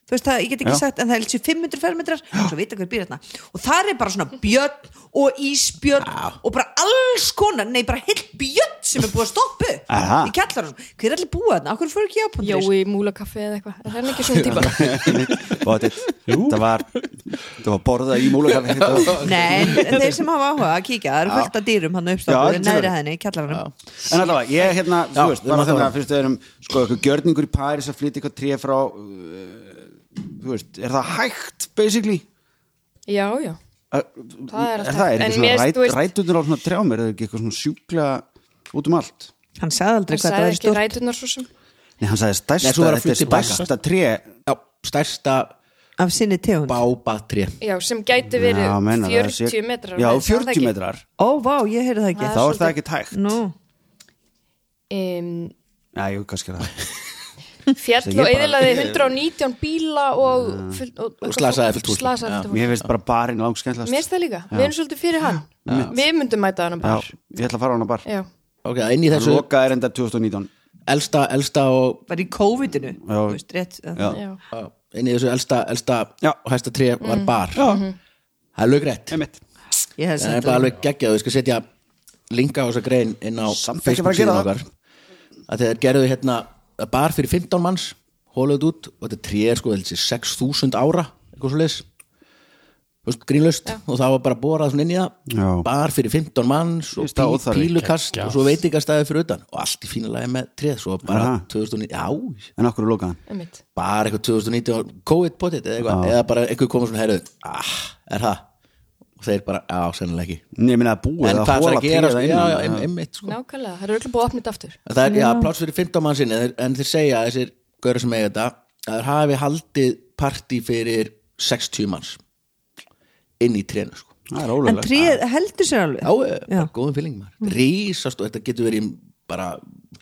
D: þú veist það, ég get ekki
C: Já.
D: sagt, en það er þessi 500 fermetrar, svo vita hver býr hérna og það er bara svona björn og ísbjörn og bara alls konar nei, bara heilt björn sem er búið að stoppu
C: Aha.
D: í kjallar og hver er allir búið hérna, okkur fyrir ekki ápundis
B: Jói Múlakaffi eða eitthvað er það er ekki
C: (laughs)
B: svona típa
C: og þetta, þetta var þetta var borða í múlakafi en
D: Nei, en en þeir sem hafa áhuga að kíkja það eru fullt af dýrum hann
C: Já,
D: uppstofur í
C: þetta
D: neðri
C: er-
D: hæðinni, í kjallaranum
C: allavega, ég hérna,
A: Já,
C: þú veist,
A: um
C: bara
A: að
C: þannig
A: það.
C: að fyrst við erum, sko, eitthvað gjörningur í Paris að flytja eitthvað tré frá uh, þú veist, er það hægt basically
B: já, já,
C: Er
B: Það er
C: er
B: alltaf-
C: það, er
B: en
C: ekki
B: mér
C: svona
B: veist,
C: ræt,
B: þú veist-
C: rætundur á svona trjám er það ekki eitthvað svona sjúkla út um allt
D: Hann sagði aldrei
B: það
D: hvað það
B: sagði
D: er
B: ekki
D: stórt
B: rætunar svo sem
C: Nei, hann sagði
A: Nei, svo
C: stærsta,
A: var
C: þetta
A: að
C: er
A: flytja tilbaka.
C: stærsta tré
A: Já, stærsta
D: af sinni tegund
A: bábatri
B: já, sem gæti verið
C: Já, meina, það er
B: 40
C: sér-
B: metrar
C: Já,
B: Nei, það er það
C: 40
B: ekki.
C: metrar,
D: Ó, vá, ég heyrði það ekki
B: Það
C: þá er það ekki tægt
D: Nú,
C: (laughs)
B: Em,
C: Já, jú, kannski er það
B: fjall
C: Ég
B: og
C: bara- (laughs)
B: eðilaði 119 bíla og, full, og, og
A: slasaði fullt fólk.
B: slasaði fullt fólk.
C: Mér finnst bara barinn langskendlast
B: Mér finnst það líka, við erum svolítið fyrir hann Við myndum mæta hann
C: Já,
B: bara
C: ég ætla að fara á hana bar
B: Já.
A: Ok, inn í þessu
C: Loka er enda 2019
A: elsta, elsta og
D: var í COVID-inu
C: Já.
D: Þú veist, rétt
C: Já,
B: Já.
A: já, inn í þessu elsta, elsta
C: Já.
A: og hæsta tré
B: Mm.
A: var bar
B: Mhm.
A: Það er lögrætt
C: einmitt
D: Ég hefði
A: Það er
D: sagt
A: bara
D: það
A: alveg geggjað, við skal setja linka á þessa grein inn á
C: Samt ekki
A: Facebook
C: bara að gera
A: síðan
C: það.
A: okkar að þeir gerðu hérna bar fyrir 15 manns hólaðið út og þetta tré er sko þessi 6.000 ára eitthvað svo leis grínlaust og það var bara borað svona inn í það
C: Já.
A: bar fyrir 15 manns og
C: Finnst það
A: pí,
C: óþarfi.
A: pílukast og svo veitingastæði fyrir utan og allt í fína lagi með tréð svo bara
C: Aha.
A: 2009, já,
C: En okkur er lokaðan
B: einmitt.
A: bara eitthvað 2019 COVID potið eða eitthvað, eða bara eitthvað komið svona herrið, ah, er það og þeir bara, já, sennilega ekki
C: Nei, ég minna að búa
A: en
C: eða
A: hvað er það
C: hola
A: að gera
C: tréð
A: sko,
C: að
A: já,
C: innan,
A: já,
C: það-
A: em, einmitt, sko.
B: Nákvæmlega, það eru öll búið að opna þetta aftur
A: En það er, já, pláts fyrir 15 mann sinni þeir- en þeir segja, þessir gaur sem eiga þetta að þeir hafi haldið partí fyrir 60 manns inn í trénu sko.
C: Það er
D: En
C: ólega
D: tríð heldur sér alveg
A: já, Mm. eh,
D: Já.
A: bara góðum fíling maður rísast og þetta getur verið í bara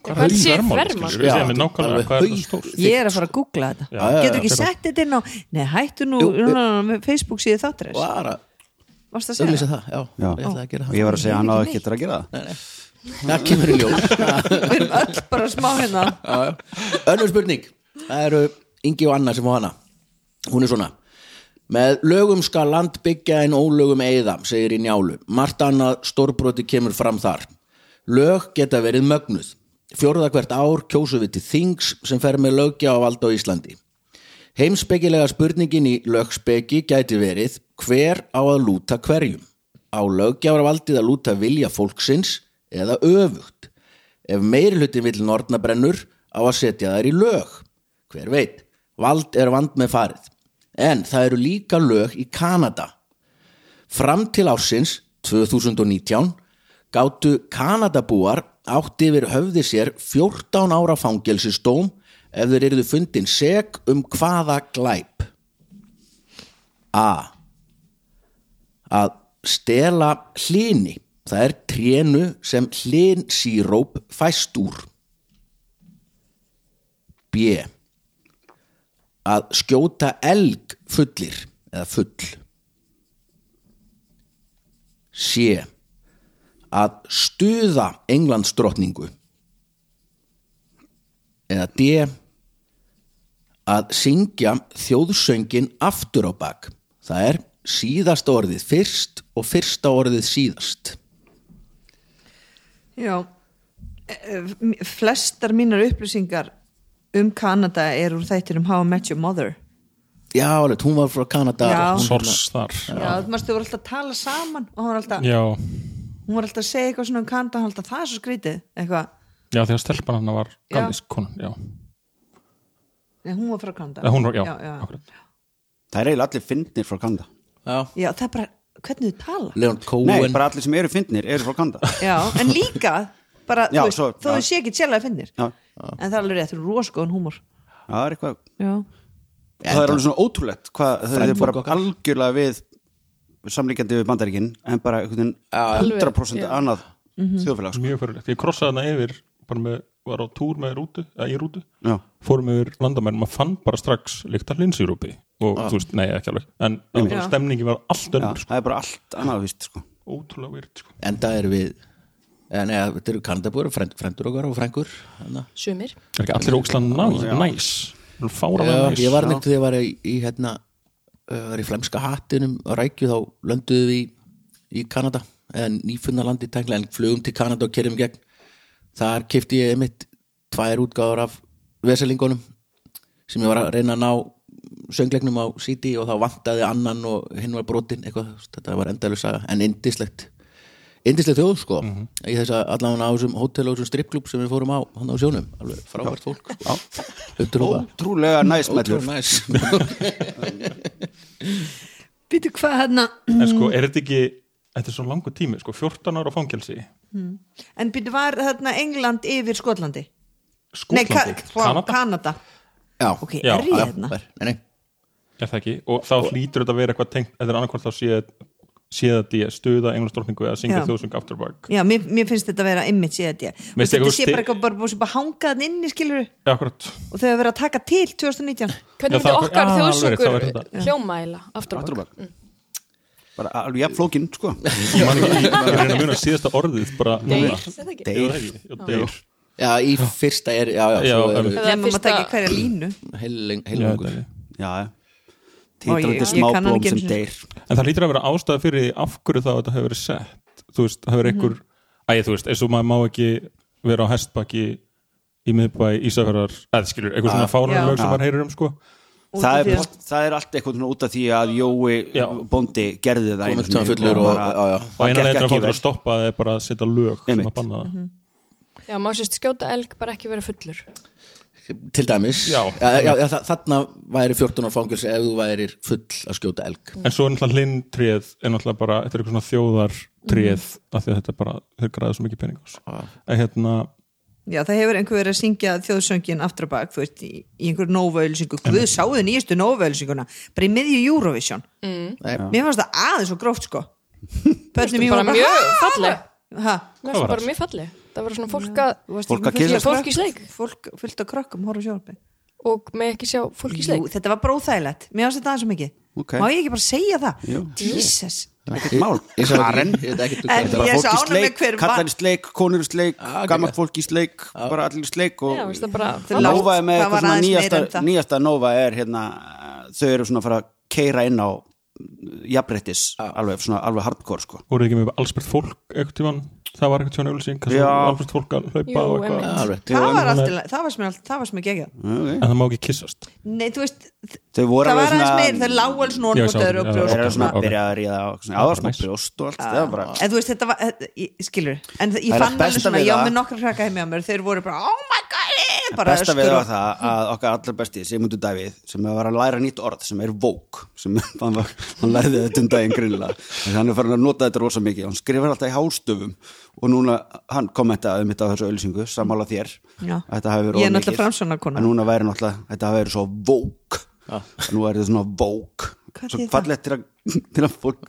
B: Hvað er sér ferman?
E: skilur við
A: Já,
E: segja mér nákvæmlega
A: alveg
E: hvað er það
A: haug.
E: stórt
D: Ég er að fara að googla þetta
E: já, já,
D: Getur ekki
E: já.
D: sett þetta inn á Nei, hættu nú,
A: Jú,
D: nú, nú, nú, nú Facebook síðu þáttir þess
A: bara
D: Varst að segja
A: auðvitað
D: það?
A: það, já,
C: Já.
A: ég ætlaði að gera
C: Ég
A: það
C: var að segja hann á ekki eftir að gera það
A: það kemur í (laughs) ljós
D: Við erum öll bara smá hérna
A: Önnur spurning Það eru Ingi og Anna sem fá hana Hún er svona Með lögum skal land byggja en ólögum eigða, segir í njálu. Margt annað stórbroti kemur fram þar. Lög geta verið mögnuð. Fjórða hvert ár kjósu við til þings sem fer með lögja á vald á Íslandi. Heimspekilega spurningin í lögspeki gæti verið hver á að lúta hverjum? Á löggjafarvaldið að lúta vilja fólksins eða öfugt? Ef meiri hluti vill nornabrennur á að setja þær í lög? Hver veit, vald er vand með farið. En það eru líka lög í Kanada Fram til ársins 2019 gáttu Kanadabúar átt yfir höfði sér 14 ára fangelsistóm ef þeir eruðu fundin seg um hvaða glæp. A. Að stela hlini. Það er trénu sem hlinsíróp fæst úr. B. Að skjóta elg fullir eða full sé að stuða Englandsdrottningu eða D að syngja þjóðsöngin aftur á bak það er síðasta orðið fyrst og fyrsta orðið síðast
D: Já eh, flestar mínar upplýsingar um Kanada er úr þættir um How I Met Your Mother
A: já, alveg, hún var frá Kanada
D: Já.
A: og hún-
E: Sors þar
D: Já, þú mástu voru alltaf að tala saman og hún var alltaf,
E: Já,
D: hún var alltaf að segja eitthvað svona um Kanada, hann var alltaf það er svo skrítið eitthvað,
E: já þegar stelpan hann var
D: Já.
E: kanadísk konan Já,
D: Nei, hún var frá Kanada
E: Eh, hún var, já,
D: já, já.
E: akkurat.
C: það er eiginlega allir fyndnir frá Kanda
A: já.
D: Já, það er bara, hvernig þú tala
A: Leon Cohen
C: nei, bara allir sem eru fyndnir eru frá Kanda
D: Já, en líka bara,
C: Já,
D: þú veist,
C: svo-
D: þó
C: já.
D: þú sé ekki sjálf að finnir
C: Já.
D: en það er alveg rétt, þú er roskóðan húmor
C: það er eitthvað
D: Já,
C: það er alveg svona ótrúlegt hvað það er
A: Frændfólk
C: bara
A: okkar.
C: algjörlega við samlíkjandi við bandaríkin en bara einhvern veginn 100% annað þjóðfélag sko.
E: mjög fyrirlegt Ég krossaði hana yfir, bara með, var á túr með rútu, eða í rútu
C: Já.
E: fórum yfir landamærin, maður fann bara strax líkt að linsýrúpi og þú veist, nei ekki alveg en en bara stemningi var allt
C: Já,
E: önnur sko.
C: það er bara allt annað vist sko.
E: ótrúlega virt sko.
A: en það er við en eða, þetta eru Kanadabúr, frend, frendur okkar og hérna. frængur hana.
B: sumir
E: er ekki allir ókslega næs, næs. Eru
A: Já,
E: fáránlega næs
A: ég var neitt þegar ég var í, í hérna uh, var í flemska hattinum á rækju þá lönduðum við í, í Kanada eða nýfunnalandi tækla en flugum til Kanada og kerjum gegn þar kefti ég einmitt tvær útgáður af veselingunum sem ég var að reyna að ná söngleiknum á City og þá vantaði annan og hinn var brotin eitthvað, þú veist, þetta var endalega saga en indislegt indislegt þjóð sko í þess að allan á þessum hótel og þessum strippklub sem við fórum á hann á sjónum, alveg frábært fólk sko. Huttulúpa.
C: ótrúlega næsmællur
A: Ótrúlega næs
D: býtu hvað hérna
E: en sko, er þetta ekki þetta er svo langur tími, sko, 14 ára fangelsi
D: En býtu var hérna England yfir Skotlandi Nei,
E: Skotlandi,
D: Ka Kanada.
E: Kanada
D: Kanada
A: Já,
D: Ok,
E: Já,
D: er ég
A: já,
D: hérna?
A: bara, nei, nei.
E: er það ekki, og þá hlýtur þetta að vera eitthvað tengt þetta er annarkvæmt þá sé séð að ég stuða englandsdorfingu eða syngja
D: Já.
E: þjóðsung after work
D: Já, mér, mér finnst þetta að vera image í þetta
E: Veistu
D: Þetta
E: eitthvað
D: sé
E: sti-
D: bara eitthvað bara búið sem bara hangaðan inn í skilur
E: Já, akkurat,
D: og þau hafa verið að taka til 2019
E: Já,
B: Hvernig myndi
E: það er-
B: okkar
E: Já, alveg rétt, það
B: þjóðsöngur
E: væri þetta.
B: hljómaæla aftur á bak?
C: Afturbak bara alveg jafn flókin sko.
E: ég man ekki ég er að reyna að muna síðasta orðið bara núna
B: Er það ekki?
E: Jú, það ekki, jú, deyr
A: já, í fyrsta er Já, já,
E: Já,
A: svo
E: en-
A: eru
B: Eða
D: Nefnum að
B: fyrsta-
D: taka hverja línu
E: Já,
A: heilangur
E: þetta er-
C: já, já
D: Ó,
C: titrandi
D: ég- ég kann hann
C: smáblóm
D: ekki
C: sem
D: einu sinni.
C: deyr
E: En það hlýtur að vera ástæða fyrir því af hverju þá þetta hefur verið sett Þú veist, það hefur einhver Æ, þú veist, eins og maður má ekki vera á hestbaki í miðbæ Ísafjörðar eða skilur, einhver svona
D: Já.
E: fárunar lög
C: Já.
E: sem maður heyrir um sko
D: Út
C: það
D: af því
C: er,
D: að-
C: allt- það er allt eitthvað svona út af því að Jói
E: Já.
C: bóndi gerði það
A: Komið
C: einu sinni
A: til hann fullur og-
C: bara-
A: já, já.
E: og eina
C: gekk
E: leiðin að
C: ekki
E: fá það að
C: vel.
E: stoppa það er bara að setja lög sem
C: Einmitt.
E: að banna það
B: Já, má sérst skjóta elg bara ekki vera fullur
A: Til dæmis
E: Já.
A: já, já, já, þa- Þarna væri 14 ára fangils ef þú værir full að skjóta elg
E: En svo er náttúrulega lintrið er náttúrulega bara, þetta er eitthvað svona þjóðartrið
D: Mm.
E: af því að þetta er bara, þau græða svo mikið pening á þessu.
D: Ah,
E: En hérna,
D: Já, það hefur einhver verið að syngja þjóðsöngin aftur á bak, þú veist, í, í einhver Nóvaölsingu, Guð sáðu nýjastu Nóvaölsinguna bara í miðju Eurovision
B: Mm.
A: Nei.
D: Mér fannst það aðeins og gróft sko Pötnum ég
B: Bara
D: var bara
B: mjög
D: "Ha,
B: falleg
D: ha."
B: Mér finnst
E: var
B: bara mjög falleg Það var svona fólk að
D: Þú varst
C: Fólk að
D: ekki
C: kyssast.
D: fullt af
B: Fólk í sleik.
D: krökkum- Fólk fullt af krökkum, horf á sjálfi
B: og með ekki sjá fólk í sleik
D: Jú, þetta var bara óþægilegt, mér fannst þetta aðeins og mikið
C: Ok.
D: Má ég ekki bara segja það? Jesus
C: ekkert mál,
A: Ég- ég sá ekki-
C: Karen
A: ég veit ekkert um
D: En
A: hvað
D: ég er
C: bara
D: svo
C: fólk í
D: ánægð með
C: sleik,
D: hver var-
C: kallar í sleik, konur í sleik gammalt fólk í sleik, bara allir í sleik og
B: Já, veist það bara
D: Þetta er lágt.
C: Nova er með
D: Það
C: eitthvað
D: var
C: svona
D: aðeins meira
C: nýjasta,
D: en það.
C: nýjasta Nova er hérna, þau eru svona að fara að keira inn á jafnréttis, alveg, svona, alveg hardcore sko.
E: voruð ekki með allsbært fólk eitthvað tímann, það var eitthvað svona ölsing
C: Já.
E: allsbært fólk að
B: Jú,
E: hlaupa
A: Já,
E: og eitthvað
B: einmitt.
A: alveg.
D: Það var allt í lagi, það var sem allt, það var sem ég gegja
E: en það má ekki kissast
D: Nei, þú veist,
C: Þau
D: það
C: voru
D: var
C: alveg
D: aðeins
C: svona
D: meir, þau lágu alls
E: Já,
D: nóra
E: sá-
D: bótaður og
E: já,
C: Þeir
D: brjóst
C: eru
D: og
C: svona
E: Ok.
C: að byrja að ríða á svona, áður smá brjóst og allt það var bara,
D: en þú veist þetta var þetta- ég- ég- skilur, en það- ég
C: Það er að
D: fann alveg
C: besta
D: svona
C: við
D: ég á
C: það-
D: með nokkra krakka heim hjá mér, þeir voru bara oh my god, eh, bara
C: besta við
D: öskur
C: var það að okkar allar besti Sigmundur Davíð sem var að læra nýtt orð sem er vók sem (laughs) hann, var, hann lærði þetta um daginn grilla hann er farin að nota þetta rosa mikið hann skrifar alltaf í hástöfum og núna hann kommentaði um þetta á þessu ölsingu sammála þér
D: Já.
C: Að þetta hafi verið
D: Ég er
C: of
D: náttúrulega
C: mikið.
D: Framsóknarkona.
C: En núna væri náttúrulega, þetta hafi verið svo vók nú er þetta svona vók
D: Hvað
C: svo
D: þýðir
C: fallegt til, að- (laughs) til að fólk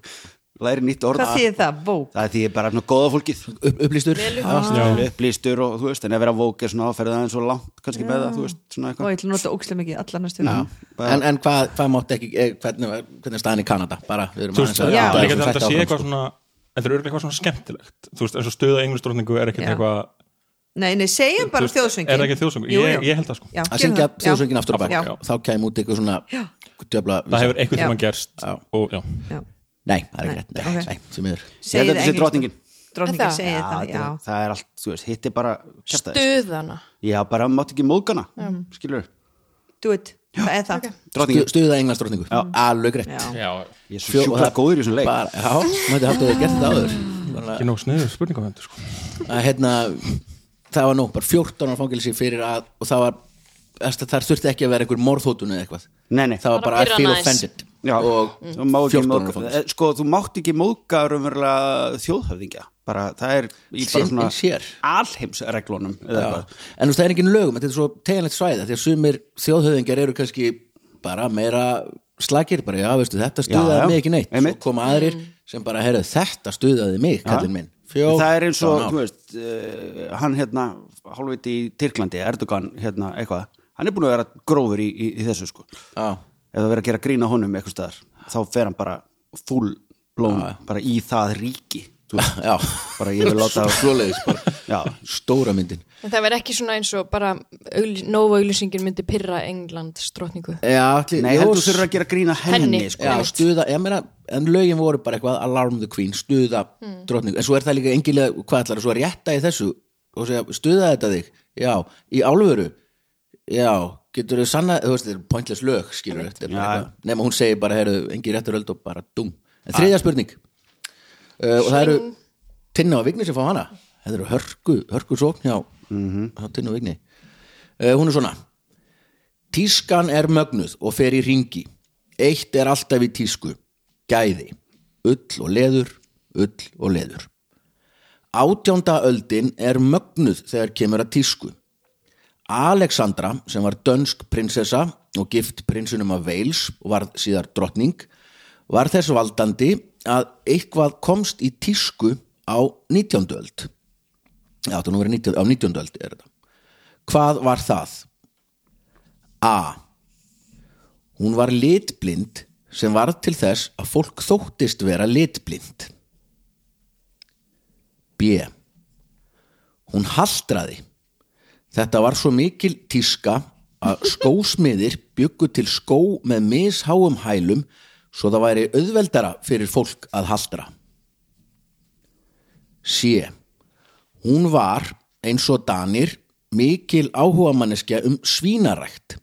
C: læri nýtt orð
D: hvað þýðir það, bók
C: það er því bara svona góða fólkið
A: Upp, Upplýstur
D: Ah.
A: Já.
E: Já.
C: vel upplýstur og þú veist en að vera vók er svona áferðið aðeins og langt kannski með það, þú veist, svona
D: og
C: eitthvað
D: ég ætla að nota ókslega mikið allar næstu
C: bara-
A: En, en hvað, hvað mátt ekki eh, hvernig, var- hvernig er staðan í Kanada bara, við erum
E: þú veist,
A: aðeins að-
D: já.
E: það er
A: að-
E: líka
A: að-
E: þetta að
A: þetta
E: sé
A: áfram,
E: eitthvað svona þetta er örglega eitthvað svona skemmtilegt þú veist, eins og stöða englisdrótningu er ekkert
D: Já.
E: eitthvað
D: nei, nei, segjum bara
E: Þú veist,
D: þjóðsöngin
E: er það ekki þjóðsöngur? Ég- ég held það, sko.
D: Já,
A: að
D: gerum
A: syngja
D: það. Já.
A: þjóðsöngin aftur á bak
D: Já.
A: þá kæm út eitthvað svona djöfla,
E: það hefur eitthvað
D: Já.
E: tíma gerst
A: Já.
E: og já,
D: Já.
A: nei, það er ekki
D: Nei,
A: rétt nei,
D: ok.
A: nei, því miður.
C: Ég held að þetta sé
D: Segið
C: drottningin.
D: englensku- dróningar
B: Það?
D: segja þetta,
C: þetta
D: já,
C: er- það er allt, þú veist, hitt er bara kjaftaði, sko.
B: Stuðana.
C: já, bara mátt ekki móðgana mm. skilur,
D: do it, það er það
C: drottingi,
A: stuða englands drotningu alveg greitt
D: Já.
E: Já,
C: ég er svo sjúkla góður í þessum leik
A: bara, já, maður hafði gert það áður
E: ekki nóg sniður spurningafendur sko.
A: að hérna það var nóg, bara 14 ára fangilsi fyrir að og það var, þess- þar þurfti ekki að vera einhver morðhótun eða eitthvað
C: nei, nei,
A: það var
B: Bara
A: bara
B: pyrra
A: I feel
B: næs.
A: offended
C: já,
A: og
C: þú má ekki
A: 14 ára
C: móðga
A: fangilsi
C: eh, sko, þú mátt ekki móðga raunverulega þjóðhöfðingja bara, það er í
A: Sem
C: bara svona
A: er sér.
C: alheimsreglunum eða
A: Já.
C: eitthvað
A: en þú veist, það er engin lögum, þetta er svo teginlegt svæða því að sumir þjóðhöfðingar eru kannski bara meira slagir bara, já, veistu, þetta
C: Já, já.
A: stuðaði mig ekki neitt
C: Einmitt.
A: svo koma aðrir sem bara, heyrðu, þetta stuðaði mig, kallinn minn Fjó,
C: það er eins og, þú veist uh, hann hérna, hálfviti í Tyrklandi Erdogan, hérna, eitthvað hann er búin að vera grófur í, í, í þessu sko ef
A: já,
C: það vera að gera grína honum eitthvað staðar, þá fer hann bara full blown, bara í það ríki þú veist,
A: já,
C: bara ég vil láta
A: svoleiðis bara,
C: já,
A: stóra myndin
B: En það verði ekki svona eins og bara augl- nógu auglýsingin myndi pyrra England strotningu.
A: já, allir,
C: nei, heldur þurfa að gera grína henni,
B: Henni.
C: sko
A: Já, stuða, ég meina, en lögin voru bara eitthvað Alarm the Queen, stuða mm. en svo er það líka engilega, hvað ætlar, svo að rétta í þessu og segja, stuða þetta þig já, í álfuru já, getur þau sanna, þú veist, þetta er pointless lög, skilur þetta er bara
C: Já.
A: eitthvað. nema hún segir bara, heyrðu, engi réttur öld og bara dung, en þriðja spurning uh, og það eru Tinna og Vigni sem fá hana, þetta eru hörku hörku sókn hjá, hjá Tinna og Vigni uh, hún er svona Tískan er mögnuð og fer í ringi. Eitt er alltaf í tísku. Gæði. Ull og leður, ull og leður. Átjánda öldin er mögnuð þegar kemur að tísku. Alexandra, sem var dönsk prinsessa og gift prinsunum af Wales og varð síðar drottning, var þess valdandi að eitthvað komst í tísku á 19. öld. Já, þetta er nú verið 19, á 19. öld er þetta. Hvað var það? A. Hún var litblind sem varð til þess að fólk þóttist vera litblind. B. Hún haldraði. Þetta var svo mikil tíska að (laughs) skósmiðir byggu til skó með misháum hælum svo það væri auðveldara fyrir fólk að haldra. C. Hún var, eins og Danir, mikil áhugamanneskja um svínarækt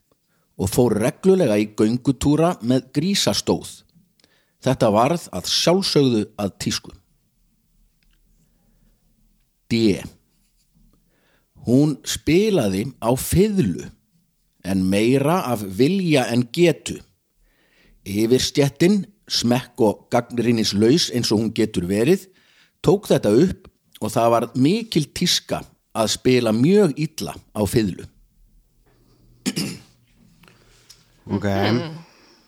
A: og fór reglulega í göngutúra með grísastóð. Þetta varð að sjálfsögðu að tísku. D. Hún spilaði á fiðlu en meira af vilja en getu. Yfirstjettin, smekk og gagnrýnislaus eins og hún getur verið, tók þetta upp og það var mikil tíska að spila mjög illa á fiðlu.
B: Mm.
C: ok,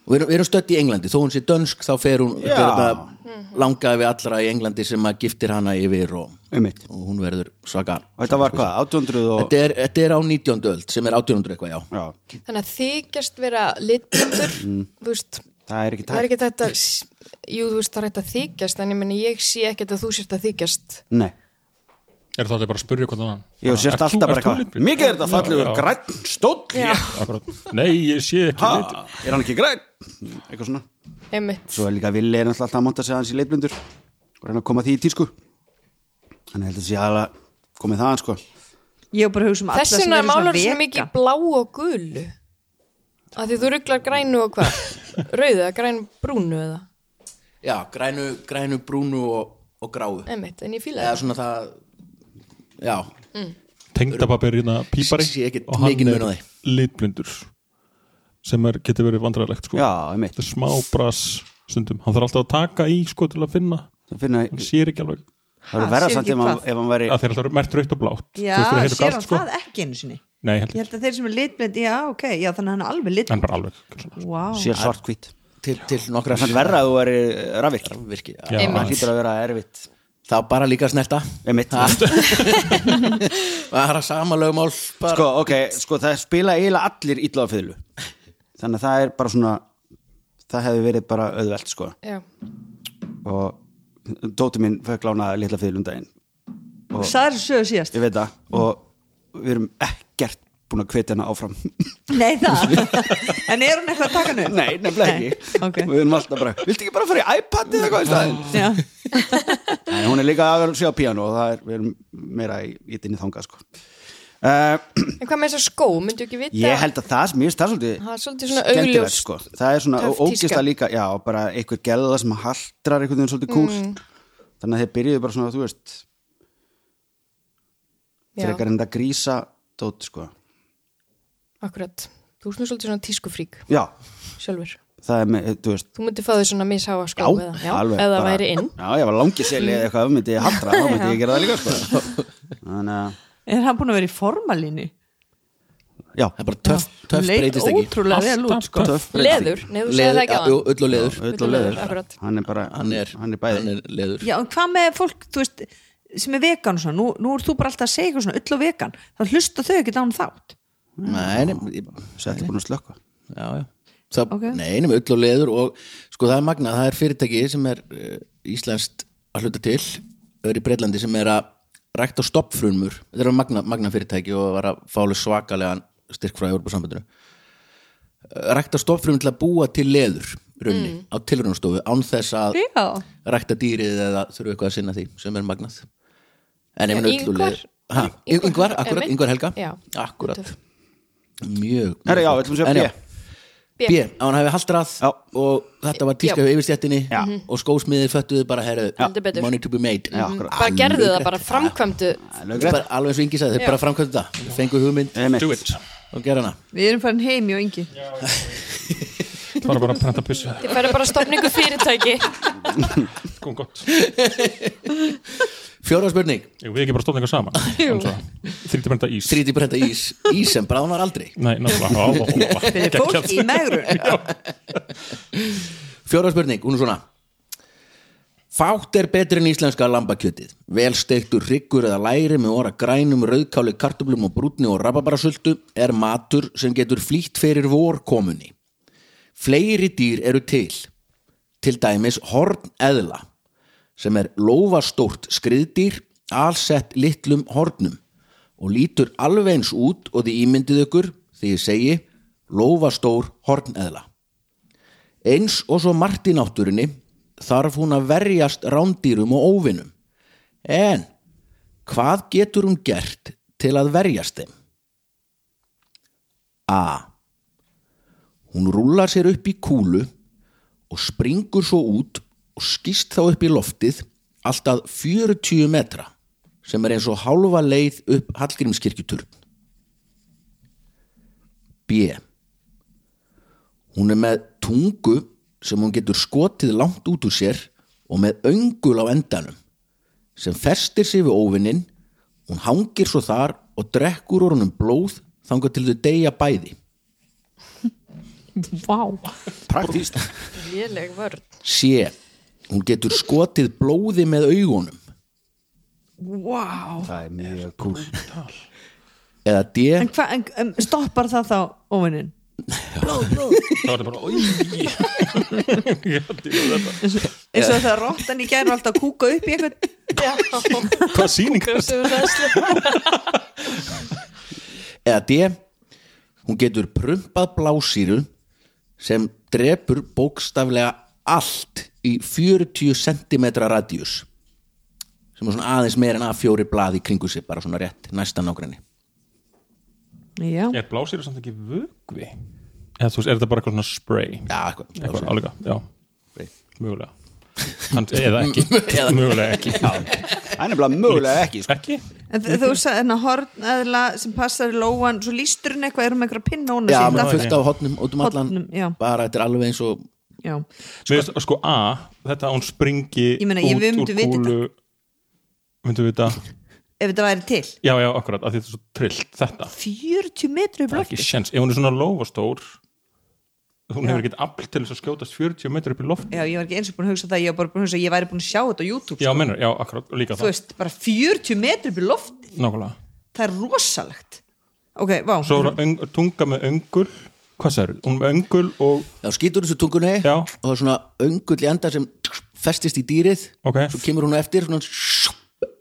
A: Og við erum, við erum stödd í Englandi, þó hún sé dönsk þá fer hún
C: Já.
A: þetta langaði við allra í Englandi sem að giftir hana yfir og,
C: einmitt
A: og hún verður svaka.
C: og þetta var hvað, 800 og
A: Þetta er, þetta er á 19. öld sem er 1800 eitthvað, já.
C: já,
B: Þannig að þykjast vera litblindur, þú veist,
C: það er ekki
B: það er
C: tæk
B: ekki þetta, jú, þú veist, það er þetta þykjast, en ég meni, ég sé ekkert að þú sért að þykjast.
C: nei,
E: Er það allir bara að spyrja hvort annan?
C: ég hef sérst
E: Ert þú-
C: alltaf bara
E: ert þú
C: eitthvað
E: litblind?
C: mikið er þetta
E: Já,
C: fallegur
E: já.
C: græn stóll
B: Já.
E: Akkurat. Nei, ég sé ekki lit
C: ha, er hann ekki græn eitthvað svona
B: Einmitt.
C: Svo er líka Vili er náttúrulega alltaf að monta sig hans í leitblindur og reyna að koma því í tísku Þannig heldur þessi aðla komið það sko
D: ég er bara að hugsa um alla
B: Þess
D: sem
B: vegna
D: eru svona
B: málar svo
D: vega.
B: mikið blá og gulu. Af því þú rugglar grænu og hvað? Rauðu eða grænu brúnu eða?
A: Já, grænu, grænu brúnu og, og gráu.
B: Einmitt, en ég fíla
A: Eða
B: það.
A: svona það, já,
E: Tengdapappi er hérna pípari
A: Sé ekkert
E: og hann
A: mikinn mun á
E: er litblindur sem er, getur verið vandræðilegt sko.
C: Já, einmitt
E: Þetta er smá bras stundum Hann þarf alltaf að taka í sko til að finna
C: Það finna,
E: Hann sér ekki alveg
C: það
D: Ha,
C: er verða
D: sér
C: samt
D: ekki
C: ef hann,
D: hvað?
C: ef hann væri
E: að þeir alltaf eru merkt raukt og blátt
D: já,
E: Þú veist, þeir eru
D: sér
E: galt,
D: hann
E: sko.
D: það ekki einu sinni
E: Nei, held
D: ég
E: ég
D: held að þeir sem er litblind, já, ok já, þannig að hann er alveg
E: En
D: litblind
E: bara alveg svona.
D: wow.
C: sér svart hvít
A: til, til nokkra
C: Þannig verða að þú væri rafvirk
A: virki. Já.
E: Já,
C: Það
B: Einmitt.
E: aðeins.
C: hlýtur að vera erfitt
A: Það var bara líka að snerta.
C: Einmitt
A: Það er að sama lögmál. Bara.
C: Sko, ok, sko það spila eiginlega allir illa á fyrlu Þannig að það er bara svona það hefði verið bara auðvelt sko
B: Já.
C: og dóti mín fekk lána litla fyrlu um daginn
D: það er sögur síðast
C: Ég veit það og við erum ekkert búin að hvetja hana áfram
D: nei það, (laughs) en er hún eitthvað að taka hann upp
C: Nei, nefnilega ekki
D: Nei, ok.
C: Við erum alltaf bara, viltu ekki bara fara í iPad eða eitthvað í staðinn?
D: Já.
C: Nei, hún er líka að sjá piano og það er, við erum meira í, í dinni þangað sko. uh,
B: En hvað með þess að skó, myndu ekki vita?
C: ég held að það, mér finnst það svolítið
B: Það er svolítið svona
C: skemmtilegt,
B: augljós-
C: sko. það er svona
B: töff tíska.
C: ógista líka já, bara einhver gelða sem haldrar einhvern veginn svolítið kúl
B: Mm.
C: þannig að þeir byrjuðu bara svona, þú veist
B: Já,
C: frekar en það grísa dót, sko
B: akkurat. Þú erst nú svolítið svona tískufrík
C: já,
B: sjálfur.
C: það er með, þú veist
B: Þú myndi fá þau svona misháa skó
C: já,
B: eða, já,
C: alveg
B: eða
C: bara-
B: væri inn.
C: já, ég var langið seli eða eitthvað, ef myndi ég haldra
B: (laughs)
C: þá myndi ég gera það líka, sko þannig að,
D: Er hann búin að vera í formalínu?
C: já,
A: Það er bara töff, töff
D: Leit
A: breytist ekki
D: Ótrúlega vel út,
E: Alltaf
D: sko.
C: töff
B: Leður, nei, þú segir það ekki
A: já,
B: á
A: jú, ull og leður
C: öll og leður,
B: Akkurat.
C: hann er bara
A: Hann er,
C: hann er bæði,
A: leður
D: Já, en hvað með fólk, þú veist, sem er vegan og svona, nú, nú er þú bara alltaf að segja eitthvað svona, öll og vegan, þá hlusta þau ekki dánum þátt.
A: Nei, nei, ég-
C: sætti búin að slökka
A: já, já það,
D: Ok.
A: Nei, nema ull og leður og sko það er magnað, það er fyrirtæki sem er uh, íslenskt að hluta til öðru í Breitlandi sem er að rækta stoppfrumur, þetta er magna, magna fyrirtæki og var að fálu svakalegan styrk frá Európa-sambandinu rækta stoppfrumur til að búa til leður runni
B: Mm.
A: á tilrunarstofu án þess að
D: Já.
A: rækta dýrið eða þurfa eitthvað að sinna því sem er magnað en ef
B: Já,
A: hann ull og
B: Ingvar.
A: leður Ha, Yngvar, akkurat,
B: Einmitt.
A: Yngvar Helga
B: Já.
A: Akkurat Mjög, mjög
C: Herra, já,
A: flott.
C: ætlum við að segja
A: En já,
C: B.
B: B.
A: B, að hann hefði haldrað
C: Já.
A: og þetta var tíska
B: Já. Mhm.
A: hjá yfirstjættinni
C: Já.
A: og skósmiðir föttuðu bara herðu,
B: Heldur betur.
A: money to be made Mhm.
C: Já, akkurat.
B: Mm, Bara gerðu það, bara framkvæmdu
C: lögrétt.
A: bara, alveg eins og yngi sagði, þeir bara framkvæmdu það þeir fengu hugmynd
C: Einmitt.
E: Do it
A: og gera hana
D: Við erum farin heim hjá yngi.
E: Það var bara að prenta pissu
B: Þið færi bara stofningu fyrirtæki
E: Kom gott
A: fjóra spurning,
E: Jú, við ekki bara stóðum eitthvað saman Þrítið prenta ís
A: 3D prenta ís ís sem bráðnar aldrei
E: Nei, náttúrulega
D: Fyrir fólk í
A: (laughs)
D: megrun.
A: fjóra spurning, hún er svona Fátt er betri en íslenska lambakjötið. Vel steiktur hryggur eða læri með óra grænum, rauðkáli, kartublum og brúnni og rababarasultu er matur sem getur flýtt fyrir vorkomunni. Fleiri dýr eru til. Til dæmis horn eðla sem er lófastórt skriðdýr alsett litlum hornum og lítur alveg eins út og þið ímyndið ykkur því ég segi lófastór horn eðla. Eins og svo margt í náttúrunni þarf hún að verjast rándýrum og óvinum. En hvað getur hún gert til að verjast þeim? A. Hún rúlar sér upp í kúlu og springur svo út og skýst þá upp í loftið alltaf 40 metra sem er eins og hálfa leið upp Hallgrímskirkjuturn. B. Hún er með tungu sem hún getur skotið langt út úr sér og með öngul á endanum sem festir sig við óvinnin hún hangir svo þar og drekkur úr honum blóð þangar til þau deyja
B: (laughs)
A: bæði
D: Vá.
C: praktíst
B: Léleg vörn
A: sé hún getur skotið blóði með augunum
D: Vá.
C: það er mjög kúl
A: eða D
D: En hvað, en, en stoppar það þá óvinnin?
E: Það var bara (laughs) Í
D: Eins og það rottan í gæru alltaf að kúka upp í eitthvað.
B: Já,
E: Hvað sýning
B: hversu hræðslu
A: eða D hún getur prumpað blásýru sem drepur bókstaflega allt í 40 cm radíus sem er svona aðeins meir en að fjóri blaði kringu sig bara svona rétt næsta nágrinni
D: Já.
E: Er blásýru samt ekki vögvi? Eða þú veist, er þetta bara eitthvað svona spray?
A: Já, eitthvað,
E: Eitthvað
A: blásýra.
E: álíka, já
A: Spray.
E: Mögulega Hann, (laughs) Eða ekki
A: Eða-
E: Mögulega ekki
C: það er nefnilega mögulega ekki sko.
E: Ekki?
D: En þ- þú sagði hérna horn eðla sem passar í lóan, svo lístur hún eitthvað, er hún með eitthvað pinna hún
A: Já,
D: að
A: með
D: sýnda?
A: fullt af hotnum út um allan
D: Hornum, já.
A: bara þetta er alveg eins og
D: Já.
E: Mér veist, sko A Þetta að hún springi
D: Ég meina, ég- við
E: út
D: myndum
E: úr
D: vita
E: kúlu Myndum við þetta?
D: Ef þetta væri til.
E: Já, já, akkurat, að þetta er svo trillt Þetta
D: 40 metri í
E: Það er ekki
D: blokki.
E: sjens, ef hún er svona lofastór hún hefur ekkert afl til þess að skjótast 40 metri upp í loft
D: Já, ég var ekki eins og búin að hugsa það, ég var bara búin að hugsa að ég væri búin að sjá þetta á YouTube. sko.
E: Já, mennur, já, akkurat, og líka
D: Þú
E: það,
D: veist, bara 40 metri upp í lofti.
E: nákvæmlega
D: Það er rosalegt. Ok, vá.
E: Svo er það öng, tunga með öngul Hvað sér, hún er með öngul og
A: Já, skýtur þessu tungunni
E: Já.
A: og það er svona öngull í enda sem festist í dýrið
E: Ok.
A: svo kemur hún á eftir svona,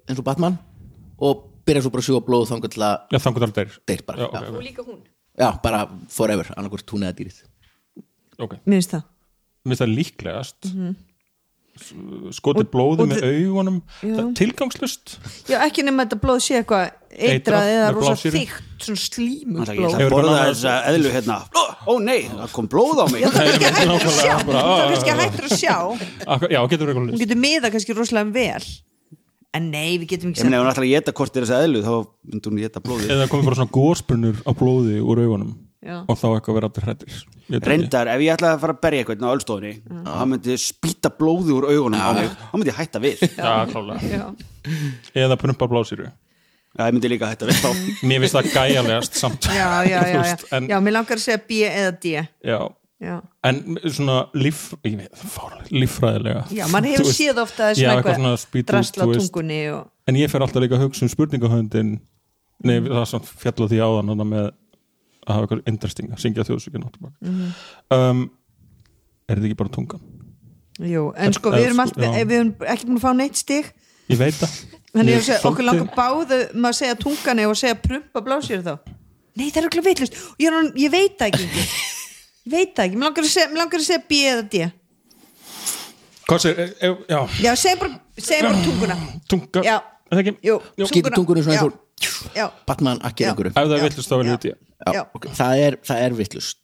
A: eins og Batman og byrjar svo bara að sjúga blóð þangar til að
E: Já, þangur þar deyr
A: deyr bara
E: Já, ok,
B: Og líka hún
A: Já, bara forever, annarkvort hún eða dýrið
E: ok, ok
D: Mér finnst það. Mhm.
E: Mér finnst það líklegast skotið blóði
D: og
E: með
D: þi-
E: augunum
D: Já.
E: það er
D: (laughs)
E: tilgangslust
D: Já, ekki nema þetta blóð sé eitthvað eitrað
E: Eitrað
D: eða
E: með
D: rosa
E: blásýru.
D: þykkt, svona slímur
C: Ég ætla
D: blóð
E: Hefur
C: að
E: eitthvað
C: borða
E: annað-
C: þessa eðlu hérna Ó, Ó nei, það kom blóð á mig
D: Já, það er kannski
E: Nei,
D: hættur að sjá
E: nákvæmlega,
D: Það
E: bara, ah,
D: er kannski
E: ah,
D: hættur að sjá
E: Akkur- já, getur verið
D: Hún
E: eitthvað list
D: getur miða kannski rosalega vel En nei, við getum
C: Ég
D: ekki
C: meina, ef
D: sagt
C: hún ætlar að geta hvort er þessa eðlu þá myndi hún geta blóðið
E: eða komið bara svona góðspunur á blóði úr augunum
D: Já.
E: og þá eitthvað verið aftur hrættir Ég veit ekki.
C: Reyndar, ef ég ætlaði að fara að berja eitthvað á ölstofunni,
B: Mm.
C: hann myndi spýta blóði úr augunum á mig, hann myndi ég hætta við
E: (laughs)
C: Já,
E: já, klálega
D: Já.
E: eða prumpa blásýru
C: ég myndi líka hætta við þá
E: mér finnst það gæjalegast (laughs) samt
D: Já, já,
E: Þú
D: já, já.
E: veist, en,
D: já, mér langar að segja B eða D
E: já.
D: Já,
E: en svona líf, ég veit, fárlega, líffræðilega
D: já
E: (laughs)
D: mann
E: Þú
D: hefur
E: veist,
D: séð ofta
E: já,
D: svona
E: eitthvað svona
D: eitthvað
E: spýtust,
D: drasla
E: þú
D: á
E: veist.
D: tungunni og...
E: en ég fer alltaf líka að hugsa um spurningahöndin nei,
D: Mm.
E: það er svona fjall á því áðan hana með að hafa eitthvað interesting að syngja þjóðsökin mm
D: Mhm.
E: um, er þetta ekki bara tungan?
D: Jú, en sko,
E: eða
D: við erum,
E: sko-
D: allt,
E: já.
D: við erum ekki búin að fá neitt stig
E: ég veit það
D: (laughs) Þannig
E: Ég
D: að segja, okkur
E: svolítið-
D: langar báðu maður að segja tungan eða að segja prumpa blásir þá Nei, það er okkur veitlust ég, er orðin- ég veit það ekki
E: (laughs)
D: Ingi. Ég veit það ekki, mér langar að segja, mig langar að segja B eða D
E: hvað segir, e, e, já,
D: Já, segja bara, segja bara tunguna
E: tunga
D: Já.
E: Er það ekki?
D: Jú,
E: Jú.
A: Skýtur tungunni svona eins og-
D: Já, já,
A: Batman akkið
D: Já.
A: einhverju
E: ef það
D: Já.
E: er villust þá vil
D: Já.
E: ég ég
A: Já,
D: já.
A: ok. það er, það er vittlust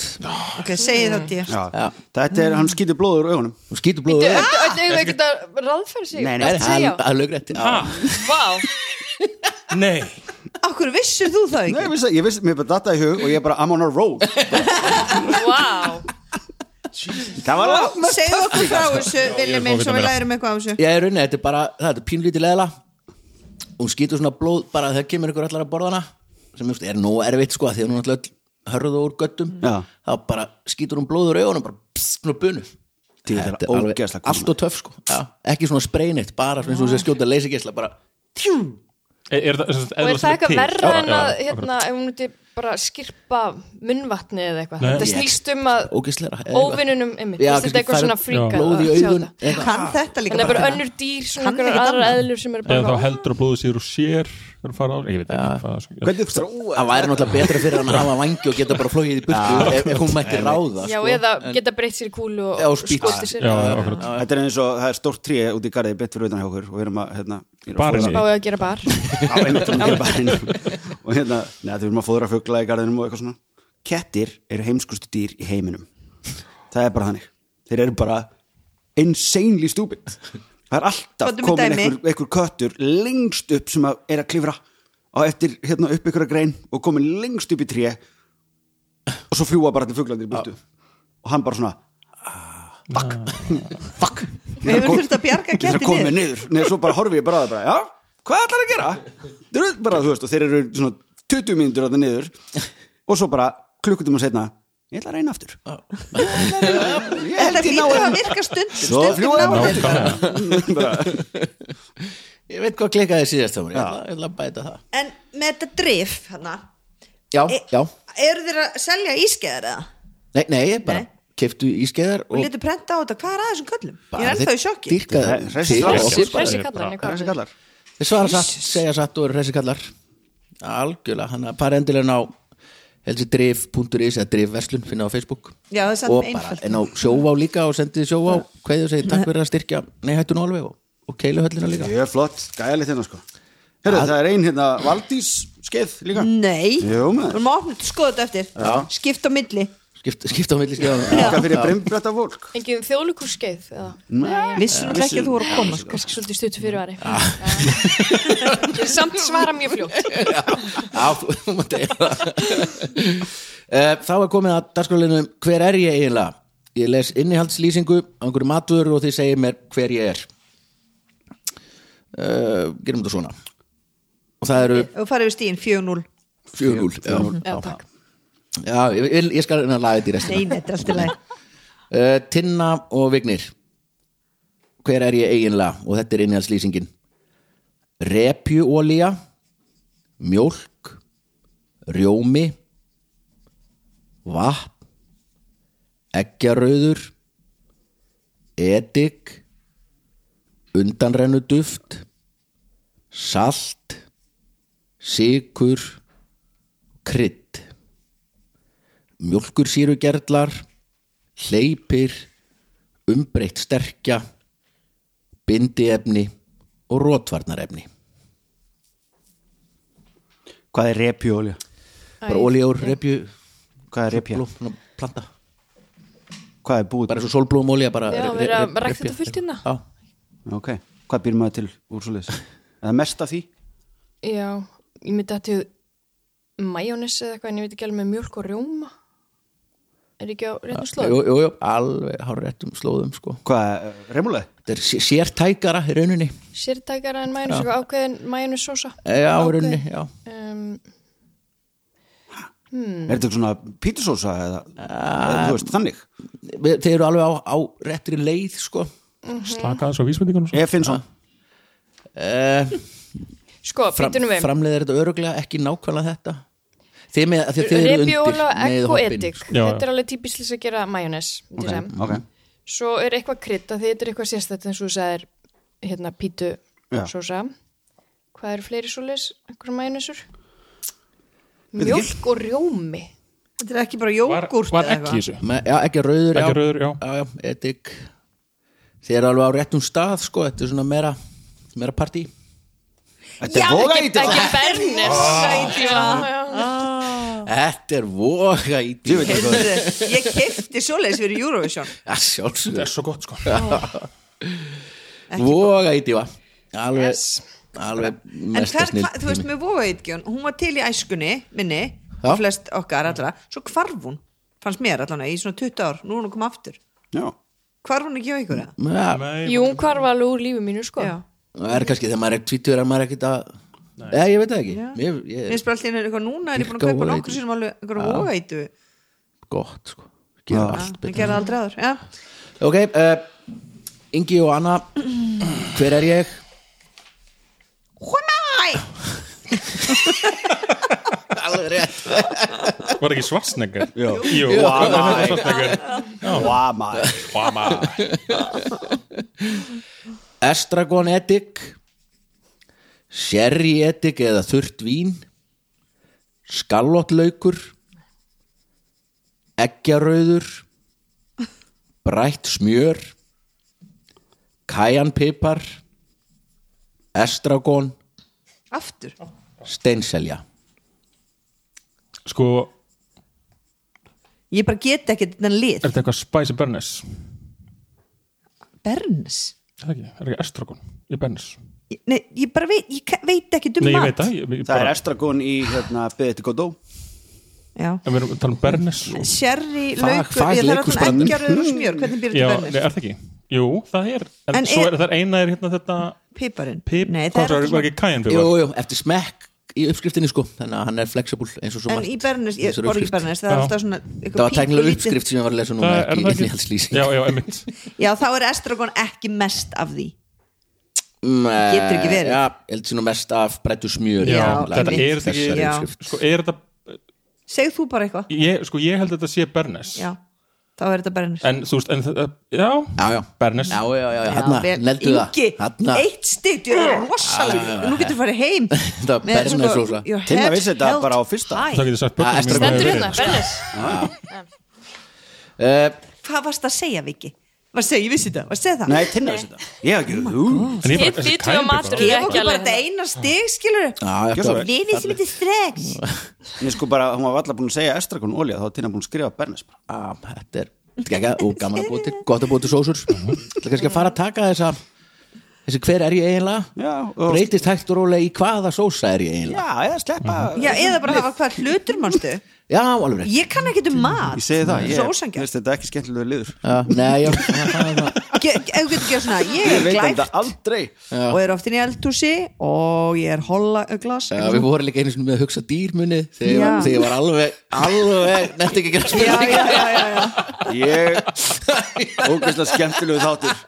D: ok, segi það D
C: Já. Þetta er, hann skýtur blóður úr augunum
A: Hún skýtur blóðu
B: Öll eigum við ekkert að ráðferða sig
C: Nei, nei.
B: Ertu að segja?
A: Það er lögrætt
B: Vá,
E: nei,
D: Akkur vissur þú það
C: Nei,
D: ekki?
C: ég vissi, ég vissi, mér bara datta í hug og ég bara, I'm on a roll
B: vá
C: (laughs) Það var langt
D: Segðu okkur frá þessu,
E: að
D: Viljum
E: fá
D: minn, svo við
E: vita meira.
D: lærum eitthvað á þessu
A: Ég er raunin, þetta er bara, það er pínlítið leðla Hún skýtur svona blóð bara þegar kemur ykkur allar að borðana sem just, er nóg erfitt sko af því að hún er alltaf hörðu úr göttum
C: Já.
A: þá bara skýtur hún blóður augunum bara pssst, svona bunu
C: Djú, þetta er
A: Þetta er alveg
C: ógeðslega
A: allt og töff sko Já. ekki svona spreynitt, bara svona eins og þess að skjóta leysigesla bara
E: er, er það, er,
B: Og er það eitthvað verra
E: Já,
B: en
E: já,
B: að
E: akkurat.
B: hérna, ef hún myndi bara skirpa munnvatni eða eitthvað
E: Nei.
B: Þetta
A: Ég-
B: snýst um að
A: ógeðslega eða eitthvað.
B: óvinnunum einmitt,
A: Já,
B: Þú veist, þetta er
A: kannski færð
B: eitthvað svona fríkað
A: blóð í
B: að sjá
A: augun
B: þetta.
A: eitthvað.
D: Kann þetta líka
B: Þannig að bara
D: bara.
B: önnur dýr svona
D: Kann
B: einhverjar
D: ekkert
B: aðrar
D: annað.
B: eðlur sem eru
E: eða
B: bara
E: þá heldur að blóðu sér og sér er að fara á, ég veit ekki hvað það er
C: Hvernig þróa
A: það væri náttúrulega betra fyrir hann að hafa vangi og geta bara flóið í burtu ef, ef hún mætti ráða
B: Já,
A: sko.
B: eða geta breytt sér í kúlu og,
A: Já, og
B: og
A: spýta.
B: skotið sér
E: Já, já, akkurat.
C: Þetta er eins og, það er stórt tríi út í garðið betur utan hjá okkur og við erum að, hérna ég er að
E: Barinn í.
B: Spáði að gera bar
C: á einmitt um ekki bara inn og hérna, neða, þau erum að fóðra fugla í garðinum og eitthvað svona kettir eru heimskustu dýr í heiminum það er bara þannig, þeir eru bara insanely stupid það er alltaf
D: Fátum við
C: komin
D: dæmi.
C: einhver, einhver köttur lengst upp sem að er að klifra á eftir hérna upp ykkur að grein og komin lengst upp í tré og svo fljúa bara til fuglandir í burtu og hann bara svona
D: (laughs)
C: fuck, fuck
D: Við hefur þurft að bjarga
C: Ég þarf að
D: ketti
C: koma
D: niður
C: mér niður Nei, svo bara horfi ég bara að það bara, já, hvað ætlar að gera? Þeir eru bara, þú veist, og þeir eru svona 20 mínútur að það niður og svo bara klukkutum að setna ég ætla að reyna aftur Ég
D: Þetta
C: held ég
D: hlýtur að
C: náði
D: virka stundum
C: Svo
D: stundum
C: fljúga
D: náum við.
E: nákvæmlega,
C: (laughs)
A: ég veit hvað klikaði síðast þá mér, ég ætla- ég ætla að bæta það
D: En með þetta drif hana,
A: já,
D: e-
A: já,
D: Eru þeir að selja ískeðar eða?
A: nei, nei, ég bara
D: Nei.
A: keftu ískeiðar
D: Og
A: og
D: letu prenta á þetta, hvað er að þessum köllum? Ég er
A: bara
D: ennþá
A: þeir
D: í sjokki
A: dýrkaðu
C: Þetta er
A: til
C: hressi kallar.
A: okkur bara.
B: Þessi kallan
E: bara-
C: Þessi kallar
B: eitthvað
A: þeir svara satt, segja satt og eru hressi kallar algjörlega, hann að fara endilega á helsidrif.is eða drifverslun finna á Facebook
D: Já, það er samt
A: og bara
D: einfalt.
A: en á sjóvá líka og sendið sjóvá hvað þau segir, takk fyrir að styrkja nei, hættu nú alveg og, og keiluhöllina líka
C: Ég er flott, gæli þérna sko Herru, það er ein hérna Valdís skeið líka
D: Nei,
C: Jú, maður.
D: við erum opnum til skoða þetta eftir
C: Já.
D: Skipta á milli
A: skipta, skipta á milli skipta
C: Líka fyrir brimbrætta fólk
B: Engin þjóðlíkússkeið eða?
D: Vissum ekki að þú voru að koma sko.
B: Kannski svolítið stuttu fyrirvari Já. Samt svara mjög fljótt
A: Ah. Já, þú- þú mátt eiga það. (laughs) Eh, Þá er komið að dagskrálinum hver er ég eiginlega? Ég les innihaldslýsingu á einhverju matur og þið segir mér hver ég er uh, Gerum þetta svona Og það eru
D: Og farið við stíðin 4-0
A: fjögul Já,
B: Já, takk
A: já ég, vil- ég skal reyna að laga þetta í
D: Nei,
A: restina
D: nei, þetta er alltaf leið
A: uh, Tinna og Vignir Hver er ég eiginlega? Og þetta er innihaldslýsingin Repjuolía Mjólk Rjómi Vatn Eggjarauður Edik Undanrennuduft Salt Sikur Krydd Mjólkursýrugerlar Hleypir umbreytt sterkja bindiefni og rótvarnarefni
C: Hvað er repjólja?
A: bara olja úr repju
C: Hvað er repja?
A: blóm, svona planta,
C: Hvað er búið?
A: bara eins og sólblóm olja bara
B: Já,
A: re-
B: við
A: re-
B: erum að rækta
A: repja.
B: þetta fullt hérna.
A: Já.
C: Ok, hvað býr maður til úr svo leiðis? Eða mest af því?
B: Já, ég myndi að til majónis eða eitthvað en ég veit ekki alveg með mjölk og rjóma Er ekki á réttum slóð?
A: jú, jú, jú, alveg hár réttum slóðum sko.
C: Hvað, eh, remúlega?
A: þetta er sé- sértækara í rauninni
B: Sértækara en majónis, eitthvað ákveðin majónis sósa
A: Eh, já, í rauninni, já
B: um,
D: Mm.
C: Er þetta svona pítusósa eða, eða þú veist, þannig?
A: Við- þeir eru alveg á, á réttri leið sko.
E: slaka þessu á vísmyndingunum
D: Ah.
E: svo.
C: Ég finn svo
A: uh,
B: Sko,
A: fram,
B: býtunum við
A: framleiðir þetta öruglega ekki nákvæmlega þetta þeir, með, af því að þeir eru undir
B: Repjóla,
A: með
B: egg og
A: hoppinu,
B: edik
A: sko.
E: Já, já.
B: Þetta er alveg típislis að gera majónis
C: Ok, ok
B: Svo er eitthvað krydd að þetta er eitthvað sérstætt eins og þú sagðir hérna pítu
C: Já.
B: sósa Hvað eru fleiri svolis? Eitthvað majónisur? Mjölk og rjómi
D: Þetta er ekki bara
E: var,
D: jógurt
E: var ekki í þessu
A: Me- já, ekki rauður,
E: Ekki rauður, já.
A: já, já edik þeir eru alveg á réttum stað sko. þetta er svona meira, meira partí
C: Þetta er voga í þetta
B: Ekki bernis
A: þetta er voga í
C: Ég veit ekki
A: (laughs)
C: hvað
D: Ég kefti svoleiðis fyrir Eurovision
A: Já,
E: þetta
A: sjálfsögur,
E: er svo gott sko
A: voga í dífa alveg,
B: Yes.
A: alveg
D: En
A: mesta
D: hver,
A: snill
D: hva, þú veist með Vóaðitgjón hún var til í æskunni minni
A: Já.
D: og flest okkar allra, svo hvarf hún fannst mér allan í svona 20 ár, nú er hún að koma aftur
C: Já,
D: hvarf hún ekki á ykkur það?
A: ja,
E: Nei,
B: Jú, hvar var alveg úr lífi mínu sko
D: Já,
A: það er kannski þegar maður er tvítur er maður ekkert að eða ég veit það ekki ég,
D: mér
A: ég,
D: finnst bara alltaf einu eitthvað núna er ég búin að
A: Dýrka
D: kaupa
A: Vogaeitur.
D: nokkur sem alveg einhverja Vóaðitu
A: gott sko gera allt
D: hún
A: betur
D: gerði aldrei aður, já,
A: ok, uh, Ingi og Anna hver er ég?
D: húnæ
A: (laughs) alveg rétt
E: var ekki svarsnegger
C: Já.
E: Jú,
A: Jú.
E: það var þetta svarsnegger
C: vá maður
E: Hvaða
A: Estragon edik Sherry edik eða þurrt vín Skallotlaukur Eggjarauður Brætt smjör Kajanpipar Estragon
D: aftur,
A: Steinselja
E: Sko,
D: ég bara get ekki þetta
E: er
D: lið,
E: þetta eitthvað Spice Bernes?
D: Berns
E: Er það ekki, er ekki Estragon í Bernes?
D: Ég- nei, ég bara veit, ég ka- veit ekki um
E: Nei, ég
D: mat
E: veit það ég, ég
C: Það er
E: bara,
C: estragon í hérna beðið til Godó
D: já
E: En við erum að tala um Bernes og-
D: Sherry,
A: Fag-
D: laukur, ég þarf
A: fagleikhús bara.
D: alltaf engjaröður og smjör hvernig býr
E: Já,
D: þetta
E: nei,
D: bernir?
E: er það ekki? Jú, það er En,
D: En
E: svo
D: er-
E: er það eina er hérna þetta
D: Piparinn
E: Pip,
D: Nei,
E: hvað
D: það
E: svo
D: er
E: er, var ekki Kajan
A: Jú,
E: fyrir
A: jú, eftir smekk í uppskriftinni sko þannig að hann er flexible eins og svo
D: En
A: margt
D: í Bernes, ég
A: þessari
D: borð ekki
A: uppskrift.
D: Bernes Það er
E: Já.
D: alltaf svona
A: Það var tæknilega uppskrift sem ég var að lesa núna
E: Það er
A: ekki
E: það
A: innihaldslýsing
E: Já, já, einmitt
C: sko.
D: Já, þá er estragon ekki mest af því
A: Nei,
D: Getur ekki verið.
A: Já, ég held sínum mest af brettu smjör
E: Já,
D: Já,
E: þetta
D: einmitt.
E: er þetta
D: Já.
E: ekki Sko, er þetta
D: Segð þú bara eitthvað
E: ég, Sko, ég held að þetta sé Bernes
D: Já, þá er þetta Bernes
E: En þú veist, en þetta Já,
A: Já, já.
E: Bernes
A: Já, já, já, já,
C: Hérna,
A: hann
D: vel,
A: neldu það Hérna,
D: Ingi,
A: Þarna,
D: eitt stig, þú er rosalega Nú getur þú farið
C: (laughs)
D: heim
A: Þetta var Bernes-sósa.
C: Tinna vissi þetta bara á fyrsta.
E: Það
D: hæ.
E: getur sagt
A: Ah,
E: börnum
A: Estragon.
E: mínu
B: Stendur
E: hefur
B: hérna,
E: verið.
B: bernis
A: uh,
D: Hvað varst að segja, Viki? Var að segja, ég vissi þetta, var að segja það
C: Nei, Tinna vissi þetta Ég
D: Oh
C: hef ekki Ú,
E: En ég bara,
B: Hitt
E: þessi
B: vitum
E: Kajan
B: að matur
E: Bibor
B: er
D: Ég
B: ekki
D: voru bara
B: alveg hérna.
D: þetta eina stig, skilur
A: Já,
C: Gjörðu
A: þetta
C: svo
A: var
C: vel.
D: Við vissum þetta strax
C: En ég sko bara, hún var allar búin að segja estragon olja þá var Tinna búin að skrifa Bernes bara.
A: á, Þetta er geggjað og gaman að búa til Gott að búa til sósur
E: Mhm.
A: Það er kannski að fara að taka þessa Þessi hver er ég eiginlega
C: Já, og,
A: Breytist hægt og rólega í hvaða sósa er ég eiginlega
C: já, eða sleppa
D: Já, eða bara hafa hvað hlutur manstu
A: Já, alveg rétt
D: Ég kann ekki um mat
C: Ég segi það,
D: Svo
C: ég
D: ósangjart
C: veist þetta er ekki skemmtilega liður
A: Já, Nei, já, það er það.
D: Ge- ge- ef þú getur gerð svona, ég
C: Ég
D: er
C: veit
D: glæft
C: þetta aldrei
D: og er oftin í eldhúsi og ég er holla glas
A: Já, við vorum líka einu sinni með að hugsa dýrmunni þegar ég
D: Já.
A: var, þegar ég var alveg, alveg nefnt ekki að gera
D: já,
A: spurning
D: já, já, já, já.
C: Ég, ógeðslega skemmtilegu þáttur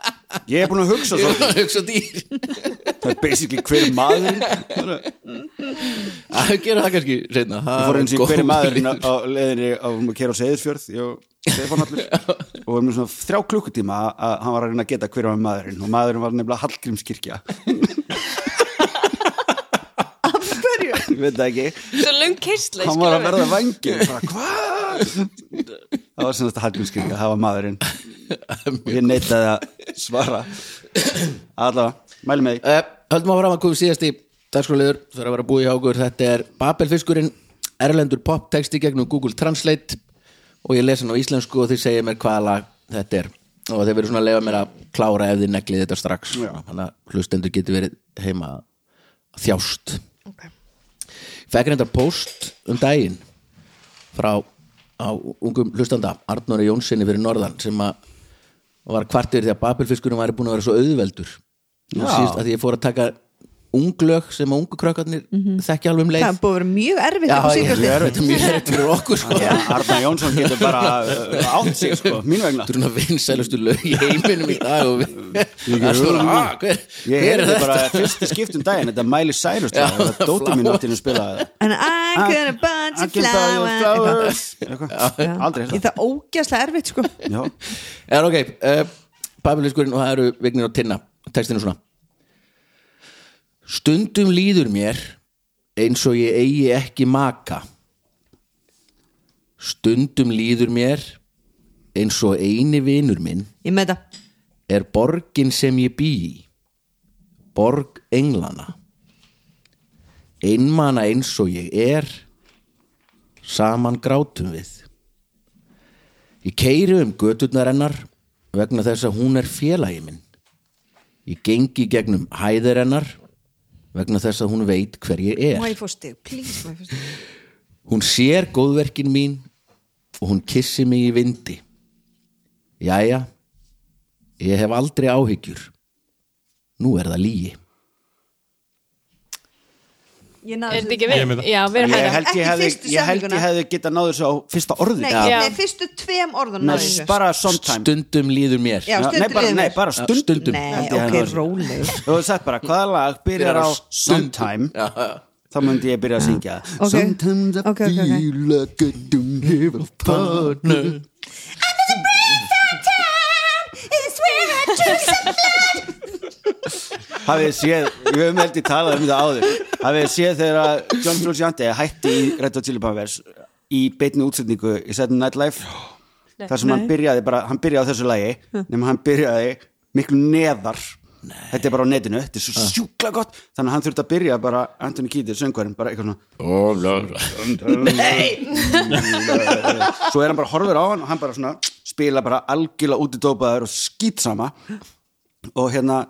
C: Ég er búin að hugsa svo
A: að (laughs) hugsa dýr
C: Það er basically hver maður
A: að gera það kannski seinna
C: Ég
A: það
C: fór
A: er
C: eins og
A: góð
C: hverju maður
A: lína.
C: á leiðinni á um að kera á Seyðisfjörð ég og Stefán allur og við erum svona þrjá klukkutíma að- að hann var að reyna að geta hverju maður maðurinn og maðurinn var nefnilega Hallgrímskirkja
D: Af hverju?
C: ég veit það ekki,
B: Svo löng kistla, ég
C: hann var
B: skilur
C: að verða vangir bara hvað
A: (laughs)
C: það var svona þetta Hallgrímskirkja, það var maðurinn og ég neitaði að svara allavega, mælum með því
A: Eh, Höldum að fram að komum síðast í dagskrúleður, það er að vera búið hjá okkur þetta er Babelfiskurinn, erlendur poptexti gegnum Google Translate og ég les hann á íslensku og þið segir mér hvaða lag þetta er og þeir verður svona að leifa mér að klára ef þið neglið þetta strax þannig að hlustendur getur verið heima að þjást
B: Ok.
A: fekk reyndar post um daginn frá á ungum hlustanda Arnóri Jónssoni fyrir norðan sem að var kvartir því að Babelfiskurinn væri búin að vera svo auðveldur og síðast að því ég fór að taka unglög sem að ungu krökkarnir þekkja alveg um leið
D: það er búið að vera mjög erfitt
A: Já,
D: upp á
A: ég-
D: síðkastið.
A: ég er þetta mjög erfitt fyrir okkur sko.
C: Já, Arna Jónsson getur bara uh, átt sig sko, mín vegna
A: Þetta er svona vinsælustu lög í heiminum í dag og við Það er svona, "Ah, hver,
C: Ég
A: hver er
C: heyrði
A: þetta?
C: bara fyrsti skipt um daginn Þetta Miley Cyrus
A: Já,
C: lag, þetta Dóti mín
A: flower.
C: átti nú að spila það.
D: And I could have bought
C: I
D: you
C: can buy you
D: flowers
C: flowers Eitthvað. Aldrei
D: Ég
C: hérna
D: það ógæslega erfitt sko
C: Já,
A: Er ok, uh, Babeliskurinn og það eru Vignir og Tinna, textinu svona Stundum líður mér eins og ég eigi ekki maka Stundum líður mér eins og eini vinur minn
D: Ég með það
A: er borgin sem ég bý í borg englana einmana eins og ég er saman grátum við ég keiri um göturnar hennar vegna þess að hún er félagi minn ég gengi gegnum hæðir hennar vegna þess að hún veit hver ég er
D: Má ég fór stig, please má ég fá stig.
A: Hún sér góðverkin mín og hún kissi mig í vindi. Jæja, ég hef aldrei áhyggjur. Nú er það lígi.
D: Ég
B: Er
D: náði
B: þetta
D: þessu-
B: ekki
E: Ég er með
B: við?
E: það.
B: Já, við erum
C: ég
B: hægra.
C: held ég
D: Ekki
C: hefði,
D: fyrstu
C: ég held ég
D: setninguna.
C: hefði geta náður svo á fyrsta orðið
D: Nei,
A: Já.
D: nei, fyrstu tveim orðunum
C: Nei,
D: náði þessu.
C: bara sometime
A: Stundum líður mér.
D: Já,
C: Nei,
D: stundum
C: bara,
D: yfir.
C: nei, bara stundum,
A: stundum.
D: Nei,
C: Held ég
D: ok,
C: hefði náð þessu.
D: rólegur
C: Þú hefði sagt bara, hvaða lag byrjar á
A: Stundum.
C: sometime
A: Já, já.
C: þá myndi ég byrja að syngja
D: Ok.
C: Sometimes I
D: Ok, ok, ok.
C: feel like I don't have a partner Hafið þið séð, við höfum held ég talað um það áður Hafið þið séð þegar að John Frusciante hætti í Red Hot Chili Peppers í beinni útsetningu í Saturday Night Live þar sem hann byrjaði bara, hann byrjaði á þessu lagi
D: Hm.
C: nema hann byrjaði miklu neðar Þetta er bara á netinu, þetta er svo sjúkla gott Þannig að hann þurfti að byrja bara Anthony Keaton, söngvarinn, bara eitthvað svona svo er hann bara horfir á hann og hann bara svona spila bara algjörlega út í dópaður og skýtsama og hérna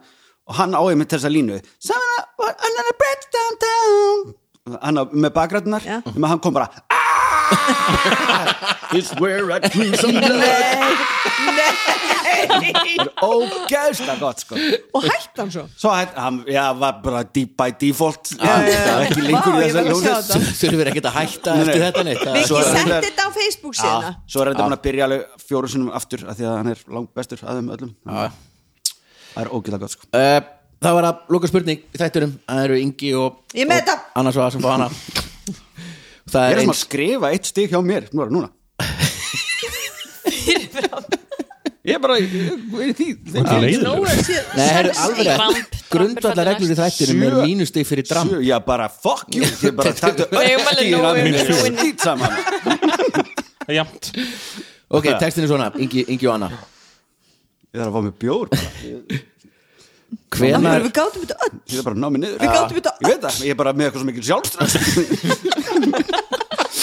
C: og hann áið með þessa línu Samana, another breath down down hann á- með bakrætunar
D: Já.
C: um hann kom bara "Ah, It's where
A: (laughs)
C: I drew some blood Ógæðslega gott sko
D: Og hætti hann svo
C: Svo hætt, hann, já, var bara deep by default Hann var ekki lengur
D: Vá,
C: í
D: ég
C: þessa
D: verð að sjá
C: ljónu
D: þetta.
A: Þurfum við ekkert að hætta
C: Nei, nei.
A: eftir þetta neitt. Það-
C: Svo er
D: Viki setti
C: þetta-
D: þetta á Facebook síðan
C: Já, Ah, svo er þetta búin að byrja alveg fjóru sinnum aftur af því að hann er langt bestur að þeim öllum það er ógæðlega gott sko
A: Uh, það var að loka spurning í þætturum. Það eru Ingi og,
D: Ég með
A: og
D: þetta.
A: annars var það sem fá hana. Það
C: ég
A: er
C: er sem að
A: eins.
C: skrifa eitt stig hjá mér nú er það núna ég er bara ég er í því
E: Þetta er leiðilegur.
A: Nei, það eru alveg
B: Dramb,
A: rétt. Grundvallar reglur í þættinum er
C: Sjö.
A: mínustig fyrir dram.
C: Sjö, já bara fuck you ég bara
D: (laughs)
C: taktu
B: Nei,
C: öll
B: ég mæli
C: stigin
B: nógu
D: um
C: af mér
E: yfir
C: Ég er
E: nóginni.
C: skít saman
E: Jæmt
A: Ok, textin er svona, Ingi, Ingi og Anna.
C: ég þarf að fá mér bjór bara.
A: Hvenar
D: Við gátum þetta öll
C: ég er bara að ná mér niður
D: Við gátum þetta
C: ég veit það ég er bara með eitthvað sem ekki
D: (laughs)
C: sjálfströð ég er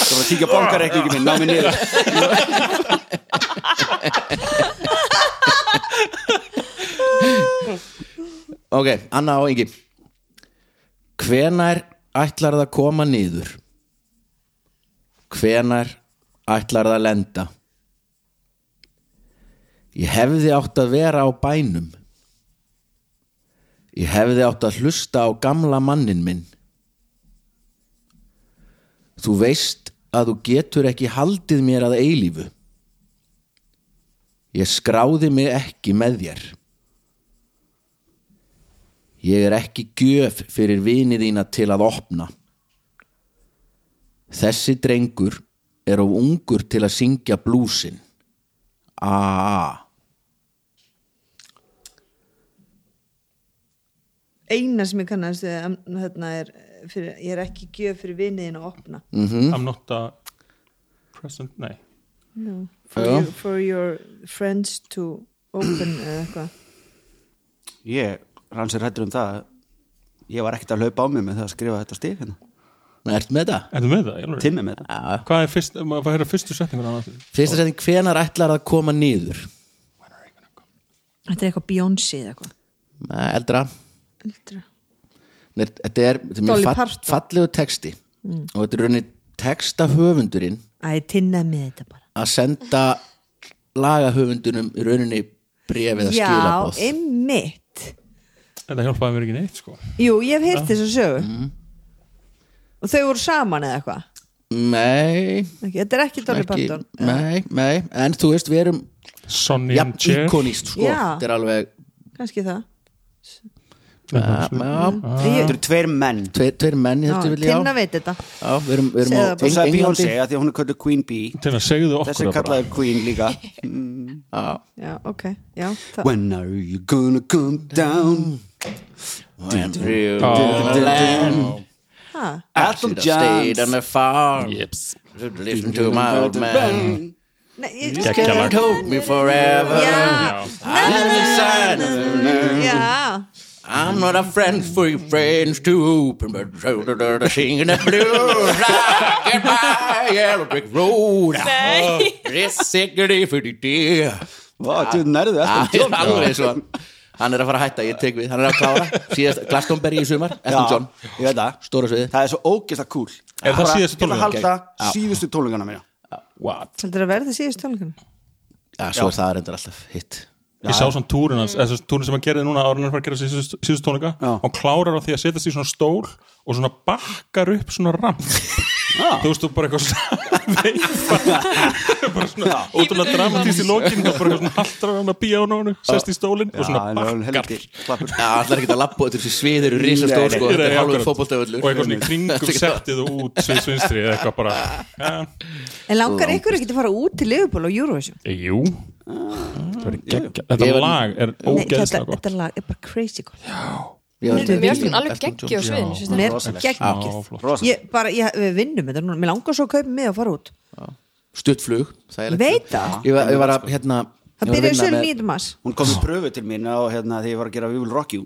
C: bara að tíkja bankareikningi minn ná mér
D: (laughs)
C: niður
A: Ok, Anna og Ingi Hvenær ætlar það að koma niður? Hvenær ætlar það að lenda? Ég hefði átt að vera á bænum Ég hefði átt að hlusta á gamla mannin minn Þú veist að þú getur ekki haldið mér að eilífu Ég skráði mig ekki með þér Ég er ekki gjöf fyrir vini þína til að opna. Þessi drengur er of ungur til að syngja blúsin. Aaaa.
D: Eina sem ég kannast við, um, hérna, er fyrir, Ég er ekki gjöf fyrir viniðin að opna
E: I'm not a present, nei
D: for,
A: Já.
D: your, for your friends to open eða eitthvað
C: ég rann sér hættur um það að ég var ekkert að laupa á mig með það að skrifa þetta stig hérna.
A: Ert með þetta?
E: Ertu með það? Alveg?
C: Timmi með þetta
D: Ah.
A: Já.
E: Hvað er fyrst, maður fær að heyra fyrstu setningur annars?
A: Fyrsta setning, hvenar ætlar að koma niður?
D: Þetta er eitthvað Beyoncé eða eitthvað
A: Nei, Eldra
D: Eldra.
A: Nei, Þetta er, þetta er
D: Dolly
A: mjög fall,
D: Parton. Mm.
A: fallegu texti og þetta er rauninni textahöfundurinn
D: Æ, tinnað með þetta bara
A: að senda lagahöfundunum í rauninni brefið að
D: Já,
A: skilabóð
D: einmitt
E: Þetta hjálpaði mér ekki neitt, sko.
D: Jú, ég hef heyrt þess að sögu
A: Mm.
D: Og þau voru saman eða eitthvað
A: Nei,
D: Ekki, Þetta er ekki Dolly
A: ekki,
D: Parton
A: nei, nei en þú veist, við erum
E: Sonny
A: jafn
E: and Cher.
A: íkonist sko,
D: Já.
A: þetta er alveg
D: Kanski það
A: ja, ja,
C: Þetta eru tveir menn
A: tveir, tveir menn í
D: Já,
A: þetta vil ég
D: Tinna
A: á
D: veit þetta
A: Já, við erum, við erum
D: Segðu
A: á
D: það
C: Þú sagði
A: Englandi
C: Beyoncé að því að hún er kölluð Queen Bee
E: Til að segja þau
C: Þessi
E: okkur
C: er
E: það bara.
C: kallaður Queen
D: (laughs)
C: líka
A: Já,
D: Já, ok Já, það
C: When are you gonna come down
A: I'm real
E: Á,
A: to the land
D: Ha,
C: Adam
A: Should have stayed
C: Jones
A: on the farm Should listen to my old man
D: Nei, ég
E: Geggjað lag.
A: Can't hold me forever
D: Já,
A: I'm in the sun
D: já
A: I'm not a friend for your friends to open But singing the blues I get by yellow brick road
B: Nei.
A: This security for the dear
C: Vá, þú nærðu Adam
A: Ah. Já,
C: Jones
A: alveg svo hann er að fara að hætta, ég tek við hann er að klára, síðast Glastonbury í sumar Elton John,
C: Já, Ég veit það
A: stóra sviði
C: Það er svo ógeðslega cool
E: Er það
C: Bara-
E: síðustu
C: Ég ætla að
E: tónleikana?
C: halda síðustu tólungana mína
E: What?
D: Heldur að verði síðust tólingana
A: Já, svo er það reyndar alltaf hitt
E: Ég sá svona túrin hans, eða þessi túrin sem hann gerði núna ára hann er að fara að gera síðust, síðust tónleika
C: Já.
E: og klárar á því að setjast í svona stól og svona bakkar upp svona ramp
C: Já.
E: þú veist þú bara eitthvað svona (laughs) veifar. bara svona ótrúlega dramatís í lokin og bara eitthvað svona haldrar hann að bíja á nánu sest í stólinn og svona bakkar
C: bakkar
A: Já, alltaf ekki að labba út þessi sviðir eru risa
C: Nei,
A: stór
C: nei,
A: sko, þetta
E: Nei,
A: er hálfur
E: akkurat.
A: fótboltavöllur
E: og eitthvað svona í
A: Þetta
E: kringum
A: er ekki það.
E: settið og út sviðs vinstri eða eitthvað bara ja,
D: En langar ykkur ekki að fara út til Liverpool og Eurovision?
E: jú þetta, geggja, þetta
A: Ah, Ég var-
E: lag er
D: Nei, þetta,
E: ógeðslega gott
D: þetta lag er bara crazy gott
A: Ég var-
B: Mér finnst hún alveg geggju á sviðinu
E: Já.
B: finnst
D: Hún
B: þér?
D: er
E: Á,
D: geggjum
E: flott.
C: Rosa
D: Ég bara, ég, við vinnum þetta núna Mér langar svo að kaupa mig og fara út
A: stutt flug,
D: Ég
A: þægilegt
D: Veit það
A: ég var, ég var að, hérna ég
D: Það
A: var að
D: byrjaði
A: vinna
D: sölu
A: með-
D: 9. mars
C: Hún kom í pröfu til mín og hérna þegar ég var að gera We Will Rock You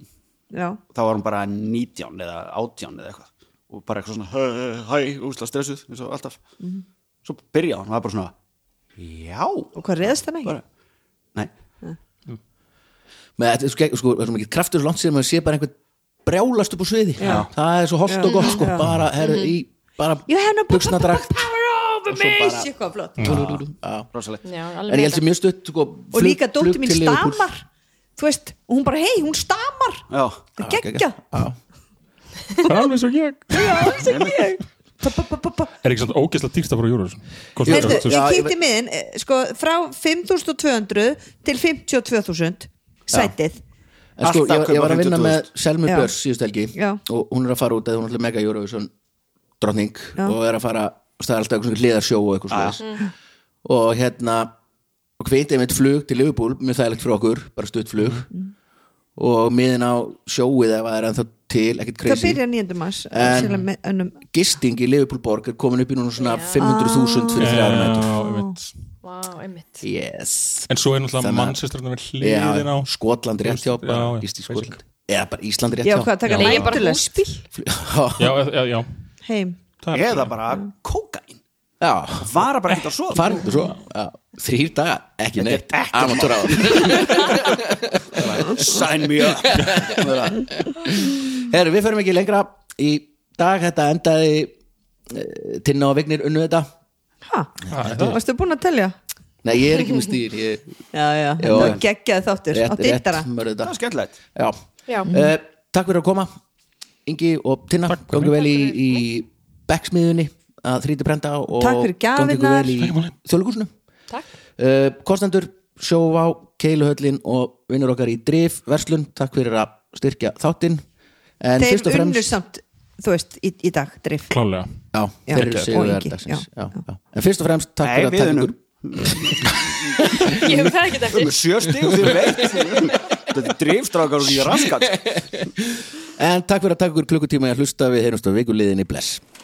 D: Já,
C: þá var hún bara 19 eða 18 eða eitthvað og bara eitthvað svona "Hæ, hæ, hæ, úsla stressuð eins og alltaf
E: Mhm.
C: svo byrja hún, það var bara svona já,
D: og hvað reyðast hann ekki?
C: bara nei,
A: með, þetta er svo gegn- sko, það er svo mikið kraftur svo langt sér maður sé bara einhvern brjálast upp á sviði
D: Já.
A: það er svo holt og gott sko,
D: Já.
A: bara, herru, í bara
D: Ég hef hennar
A: buxnadragt
D: Power over me
A: bara- Mm.
D: Sikko, sko, flott
A: Já.
C: rosalegt
B: Já, hún
A: en ég
B: er alveg
A: held sem mjög stutt sko,
D: Og
A: flug-
D: líka dóttir
A: flug
D: mín
A: til Liverpool.
D: stamar Þú veist, og hún bara, hei, hún stamar
C: já,
A: Ah,
D: Það er geggja
A: Já.
E: það er alveg svo ég
D: Já, það er geggjað.
A: Ah.
D: Pa, pa, pa, pa, pa.
E: er ekki svona ógeðslega dýrsta frá Júrus
D: Heyrðu,
A: Já,
D: ég
A: ég
D: kýtti miðin eh, sko, frá 5200 til 52000 sætið
A: En
C: Alltaf
A: sko, ég, ég var að
C: kaupa
A: vinna
C: 50.000.
A: með Selmu
D: Já.
A: Björs síðust helgi
D: Já.
A: og hún er að fara út eða hún er alltaf mega Eurovision drottning
D: Já. Ah.
A: og er að fara, það er alltaf eitthvað hliðarsjó og eitthvað slags og hérna og hvitið mitt flug til Liverpool mjög þægilegt fyrir okkur, bara stutt flug og miðin á sjóið ef það er ennþá til, ekkert
D: það
A: crazy
D: byrja 9. mars
A: En-
D: síðan með önnum-
A: gisting í Liverpool borg er komin upp í núna svona 500.000 fyrir þrjára
E: Ah.
A: nættur
B: Vá, einmitt
A: yes,
E: en svo er náttúrulega
A: Þannig að-
E: mannsisturinn við hliðin á
A: já, Skotland rétt hjá bara,
E: Já, já,
A: gist í
E: basic.
A: Skotland eða bara Ísland rétt
D: já,
A: hjá
D: hvað, taka
E: Já.
B: Ég er bara
D: nættulest
B: húsbíl
E: já, já, já,
D: heim
E: það er
C: eða bara kókain
A: já,
C: vara bara ekkert að sofa
A: farin og svo já, þrýr daga, ekki neitt
C: er ekki
A: amatúra
E: (laughs)
C: sign me up
A: herru, við förum ekki lengra í dag þetta endaði eh, Tinna og Vignir unnu þetta
D: ha, varstu búin að telja?
A: nei, ég er ekki með stýr ég
D: já, já,
A: Já,
D: þetta
A: já.
D: var geggjaði þáttur á
A: rétt, rétt
D: dittara
A: mörðu
C: það er
A: þetta
C: skemmtilegt
A: já.
B: Já. (laughs)
D: Mhm.
A: Eh, takk fyrir að koma Ingi og Tinna, gangi vel í, í backsmiðunni að þrýti prenta og
D: Takk fyrir
A: gangi ykkur
D: gjafirnar.
A: vel í þjóðleikúsinu
B: Takk
A: uh, kostendur sjóvá, keiluhöllin og vinnur okkar í drif verslun, takk fyrir að styrkja þáttinn en fyrst
D: þeir
A: og
D: unnu
A: fremst
D: samt, þú veist, í, í dag drif
E: klálega
A: já,
D: Já,
A: þeir eru
D: og
A: sigurvegar
D: Ingi,
A: dagsins.
D: já,
A: Já, já. en fyrst og fremst takk
C: Nei,
A: fyrir að
C: við
A: taka
C: unnum.
A: ykkur
B: Ég hef það ekki eftir
C: um sjösti og þið veit þetta er drifstrákar og því raskat
A: en takk fyrir að taka ykkur klukkutíma í að hlusta við heyrumst á vikuliðinni bless